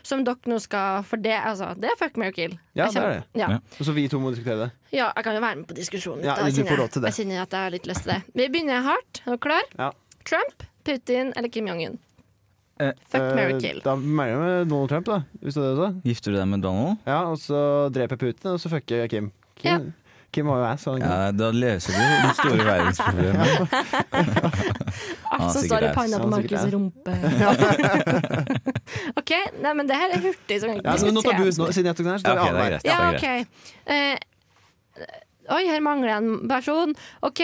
Speaker 3: som dere nå skal For det, altså, det er fuck Mary kill.
Speaker 2: Ja,
Speaker 3: Jeg kjenner-
Speaker 2: det er det.
Speaker 3: Ja.
Speaker 1: Ja.
Speaker 2: Og så vi to må diskutere det.
Speaker 3: ja, jeg kan jo være med på diskusjonen. litt,
Speaker 2: Ja,
Speaker 3: da. Jeg
Speaker 2: du får
Speaker 3: kjenner-
Speaker 2: lov til det.
Speaker 3: Jeg kjenner at jeg har litt lyst til det. Vi begynner hardt. Er dere klar?
Speaker 2: Ja.
Speaker 3: Trump, Putin eller Kim Jong-un?
Speaker 1: Eh,
Speaker 3: fuck Mary
Speaker 2: Eh,
Speaker 3: kill.
Speaker 2: Da melder vi med Donald Trump, da. Hvis det er det du sa.
Speaker 1: Gifter du deg med Donald?
Speaker 2: Ja, og så dreper Putin, og så fucker Kim. Kim,
Speaker 3: Ja.
Speaker 2: Kim har jo sånn. ass. Han,
Speaker 1: Ja, da løser du de store verdensproblemene.
Speaker 3: Alt
Speaker 1: Ah,
Speaker 3: som
Speaker 1: sikkert
Speaker 3: står i
Speaker 1: er-
Speaker 3: panna på
Speaker 2: ja, sikkert
Speaker 3: Markus'
Speaker 2: er.
Speaker 3: rumpe. OK, nei, men det her er hurtig. Så vi kan
Speaker 2: Ja,
Speaker 3: ikke
Speaker 2: men nå tar du,
Speaker 3: diskutere.
Speaker 2: nå, siden jeg tok den her, så
Speaker 1: Ja, ok,
Speaker 2: tar vi
Speaker 1: det er
Speaker 2: annenhver.
Speaker 1: greit.
Speaker 3: Ja,
Speaker 1: det er
Speaker 3: OK.
Speaker 1: greit.
Speaker 3: Eh, oi, her mangler jeg en person. OK,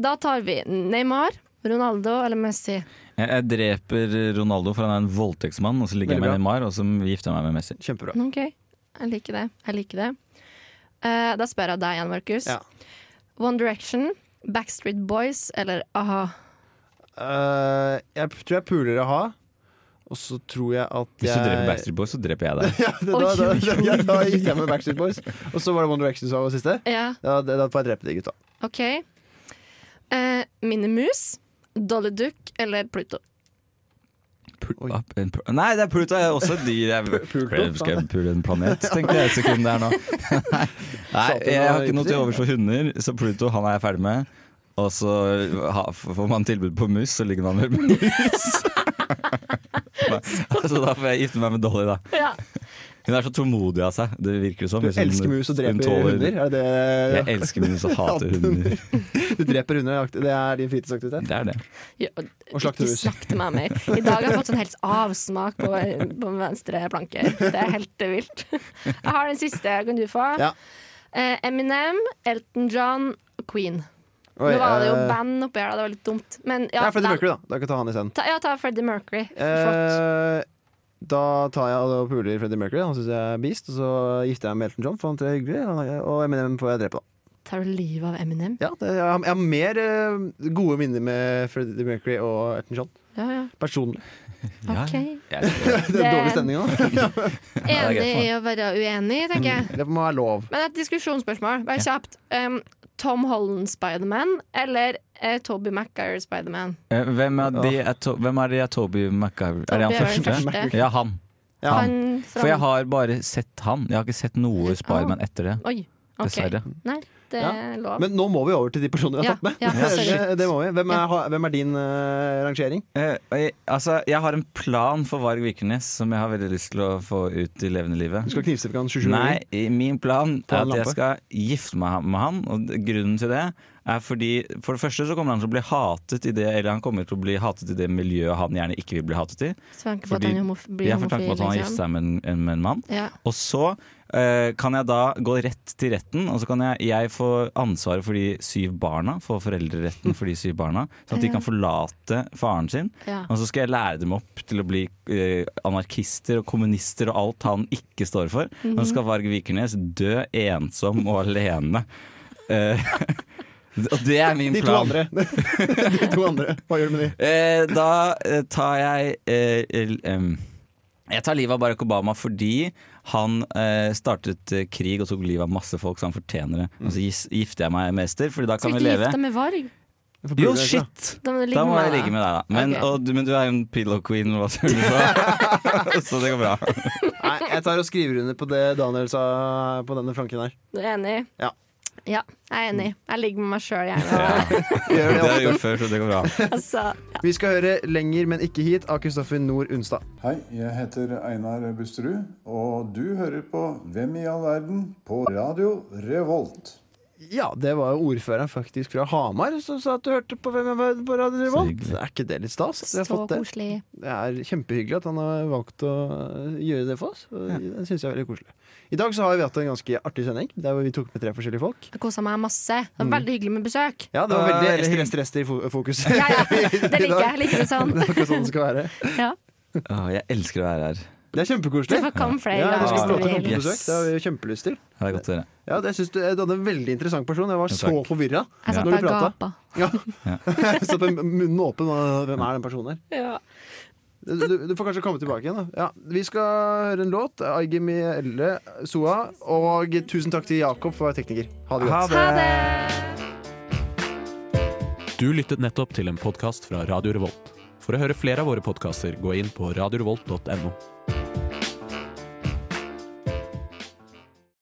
Speaker 3: da tar vi Neymar, Ronaldo eller Messi.
Speaker 1: Jeg, jeg dreper Ronaldo, for han er en voldtektsmann, og så ligger jeg med
Speaker 2: Veldig
Speaker 1: Neymar, og så gifter jeg meg med Messi.
Speaker 2: Kjempebra.
Speaker 3: OK, jeg liker det. Jeg liker det. Eh, da spør jeg deg igjen, Markus.
Speaker 2: Ja.
Speaker 3: One Direction, Backstreet Boys eller a-ha?
Speaker 2: Eh, jeg tror jeg puler å ha, og så tror jeg at jeg
Speaker 1: Hvis du dreper Backstreet Boys, så dreper jeg deg.
Speaker 2: Ja, det, da, da, da, ja, da gikk jeg med Backstreet Boys. Og så var det One Direction som var siste.
Speaker 3: Ja,
Speaker 2: Da, da, da får jeg drepe de gutta.
Speaker 3: OK. Eh, Minimus, Dolly Duck eller Pluto?
Speaker 2: Oi.
Speaker 1: Opp en pl- Nei, det er Pluto er også et dyr. Jeg
Speaker 2: Pluto?
Speaker 1: skal jeg pule en planet, tenkte jeg et sekund der nå. Nei, jeg har ikke noe til overs for hunder, så Pluto han er jeg ferdig med. Og så ha- får man tilbud på mus, så ligger man vel med mus. Nei, Så da får jeg gifte meg med Dolly, da.
Speaker 3: Ja.
Speaker 1: Hun er så tålmodig av seg. Det virker det sånn som.
Speaker 2: Du
Speaker 1: Hvis hun-
Speaker 2: elsker mus og
Speaker 1: hun
Speaker 2: dreper
Speaker 1: tåler-
Speaker 2: hunder? Er det
Speaker 1: Jeg
Speaker 2: det
Speaker 1: elsker mus og hater hunder.
Speaker 2: du dreper hunder? Det er din fritidsaktivitet?
Speaker 1: Det er det.
Speaker 3: Ja,
Speaker 2: Og slakte
Speaker 3: ikke
Speaker 2: mus.
Speaker 3: snakk til meg mer. I dag har jeg fått sånn helt avsmak på, på venstre planke. Det er helt vilt. Jeg har den siste. Kan du få?
Speaker 2: Ja.
Speaker 3: Eh, Eminem, Elton John, Queen.
Speaker 2: Oi,
Speaker 3: Nå var det jo
Speaker 2: eh,
Speaker 3: band oppi her, da. det var litt dumt. Men ja,
Speaker 2: Ja, Freddie
Speaker 3: da-
Speaker 2: Mercury, da. Da kan jeg ta han isteden.
Speaker 3: Ta, ja, ta Freddie Mercury. Flott.
Speaker 2: Eh, da tar jeg og puler Freddie Mercury. Han syns jeg er beast. Og så gifter jeg meg med Elton John, for han tror jeg er hyggelig. Han- Og Eminem får jeg drepe, da.
Speaker 3: Tar du livet av Eminem?
Speaker 2: Ja, det, jeg, har, jeg har mer eh, gode minner med Freddie Mercury og Elton John.
Speaker 3: Ja, ja.
Speaker 2: Personlig.
Speaker 3: OK.
Speaker 1: Jeg,
Speaker 2: Det er dårlig stemning nå.
Speaker 1: er greit
Speaker 3: Enig
Speaker 1: for meg.
Speaker 3: i å være uenig, tenker jeg.
Speaker 2: Det må være lov.
Speaker 3: Men et diskusjonsspørsmål, bare kjapt. Um, Tom Holland Spiderman eller uh, Toby Maguire Spiderman?
Speaker 1: Eh, Hvem er de er, to, hvem er, de er Toby MacGyver? Er det
Speaker 3: Toby
Speaker 1: han
Speaker 3: er den
Speaker 1: første?
Speaker 3: første.
Speaker 1: Ja, han.
Speaker 2: Ja.
Speaker 3: Han fra
Speaker 1: For jeg har bare sett han. Jeg har ikke sett noe Spiderman etter det.
Speaker 3: Oi, ok.
Speaker 1: Dessverre.
Speaker 3: Nei, det
Speaker 2: Ja.
Speaker 3: er lov.
Speaker 2: Men nå må vi over til de personene vi har
Speaker 3: Ja,
Speaker 2: tatt med.
Speaker 3: ja, sorry.
Speaker 2: det, det må vi. Hvem, er, ha- hvem er din eh, rangering?
Speaker 1: Eh, jeg, altså, jeg har en plan for Varg Vikernes som jeg har veldig lyst til å få ut i levende livet.
Speaker 2: Du skal knivstikke hverandre 27
Speaker 1: Nei, i- min plan
Speaker 2: Ta
Speaker 1: er
Speaker 2: en
Speaker 1: at jeg
Speaker 2: lampe.
Speaker 1: skal gifte meg med han. Og d- grunnen til det er fordi For det første så kommer han til å bli hatet i det Eller han kommer til å bli hatet i det miljøet han gjerne ikke vil bli hatet i.
Speaker 3: Så tanke på at
Speaker 1: fordi-
Speaker 3: han homof blir
Speaker 1: Jeg får tanke på
Speaker 3: homofil,
Speaker 1: at han har
Speaker 3: liksom.
Speaker 1: giftet seg med en, en- med en mann.
Speaker 3: Ja.
Speaker 1: Og så eh, kan jeg da gå rett til retten, og så kan jeg, jeg få ansvaret for de syv barna. Få foreldreretten for de syv barna, sånn at de kan forlate faren sin.
Speaker 3: Ja.
Speaker 1: Og så skal jeg lære dem opp til å bli eh, anarkister og kommunister og alt han ikke står for.
Speaker 3: Mhm.
Speaker 1: Og så skal Varg Vikernes dø ensom og alene. Eh, og det er min
Speaker 2: De to
Speaker 1: plan.
Speaker 2: andre. de to andre. Hva gjør du med de?
Speaker 1: Eh, da eh, tar jeg eh, l- em, Jeg tar livet av Barack Obama fordi han eh, startet eh, krig og tok livet av masse folk, så han fortjener det. Og så gis- gifter jeg meg med Ester, Fordi da kan
Speaker 3: Skal ikke
Speaker 1: vi
Speaker 3: du
Speaker 1: leve.
Speaker 3: gifte deg med Varg?
Speaker 1: Jo, shit!
Speaker 3: Da må du ligge
Speaker 1: Da må
Speaker 3: med
Speaker 1: jeg ligge med deg, da. Men,
Speaker 3: Ok.
Speaker 1: og, du- men du er jo en pillow queen, hva sier du da? så det går bra.
Speaker 2: Nei, jeg tar og skriver under på det Daniel sa på denne flanken her.
Speaker 3: Du er enig?
Speaker 2: Ja.
Speaker 3: Ja, jeg er enig. Jeg ligger med meg sjøl, gjerne.
Speaker 1: Det
Speaker 2: Gjør det
Speaker 1: har jeg
Speaker 2: ofte.
Speaker 1: gjort før, så det går bra.
Speaker 3: Altså,
Speaker 2: Vi skal høre lenger, men ikke hit, av Kristoffer Nord Unstad.
Speaker 7: Hei, jeg heter Einar Busterud, og du hører på Hvem i all verden? på Radio Revolt.
Speaker 2: Ja, det var jo ordføreren faktisk fra Hamar som sa at du hørte på Hvem er verden på Radio Revolt.
Speaker 1: hyggelig.
Speaker 2: Er ikke det litt stas? at vi har
Speaker 3: så
Speaker 2: fått det?
Speaker 3: koselig.
Speaker 2: Det er kjempehyggelig at han har valgt å gjøre det for oss. og Det synes jeg er veldig koselig. I dag så har vi hatt en ganske artig sending, der hvor vi tok med tre forskjellige folk.
Speaker 3: Jeg kosa meg masse. Det
Speaker 2: Mm.
Speaker 3: var veldig hyggelig med besøk.
Speaker 2: Ja, det var
Speaker 1: Ja,
Speaker 2: veldig
Speaker 1: rester-
Speaker 2: rester, rester, rester i fo- fokus.
Speaker 3: Ja, ja, det
Speaker 2: I
Speaker 3: liker
Speaker 2: dag.
Speaker 3: jeg. Liker det sånn.
Speaker 2: Det er akkurat sånn det skal være.
Speaker 3: Ja.
Speaker 1: Å, jeg elsker å være her.
Speaker 2: Det er
Speaker 3: Du
Speaker 2: kjempekoselig.
Speaker 3: får komme flere
Speaker 2: Ja, du
Speaker 3: ganger
Speaker 2: skal
Speaker 3: hvis
Speaker 2: få
Speaker 3: du
Speaker 2: lov til å komme
Speaker 3: vil.
Speaker 2: på
Speaker 1: Yes.
Speaker 2: besøk. Det har vi jo kjempelyst til.
Speaker 1: Ja, Det er godt å høre.
Speaker 2: Ja, det, jeg synes du, du hadde en veldig interessant person. Jeg var
Speaker 1: Ja,
Speaker 2: så
Speaker 1: takk.
Speaker 2: forvirra
Speaker 3: Jeg satt
Speaker 2: når du
Speaker 3: bare og
Speaker 2: prata.
Speaker 3: gapa.
Speaker 2: Ja. Jeg satt med munnen åpen. og Hvem er den personen her?
Speaker 3: Ja.
Speaker 2: Du, du- du får kanskje komme tilbake igjen. da ja, Vi skal høre en låt. Aigemi Elle Soa. Og tusen takk til Jakob for å være tekniker. Ha det godt.
Speaker 3: Ha det!
Speaker 11: Du lyttet nettopp til en podkast fra Radio Revolt. For å høre flere av våre podkaster, gå inn på radiorevolt.no.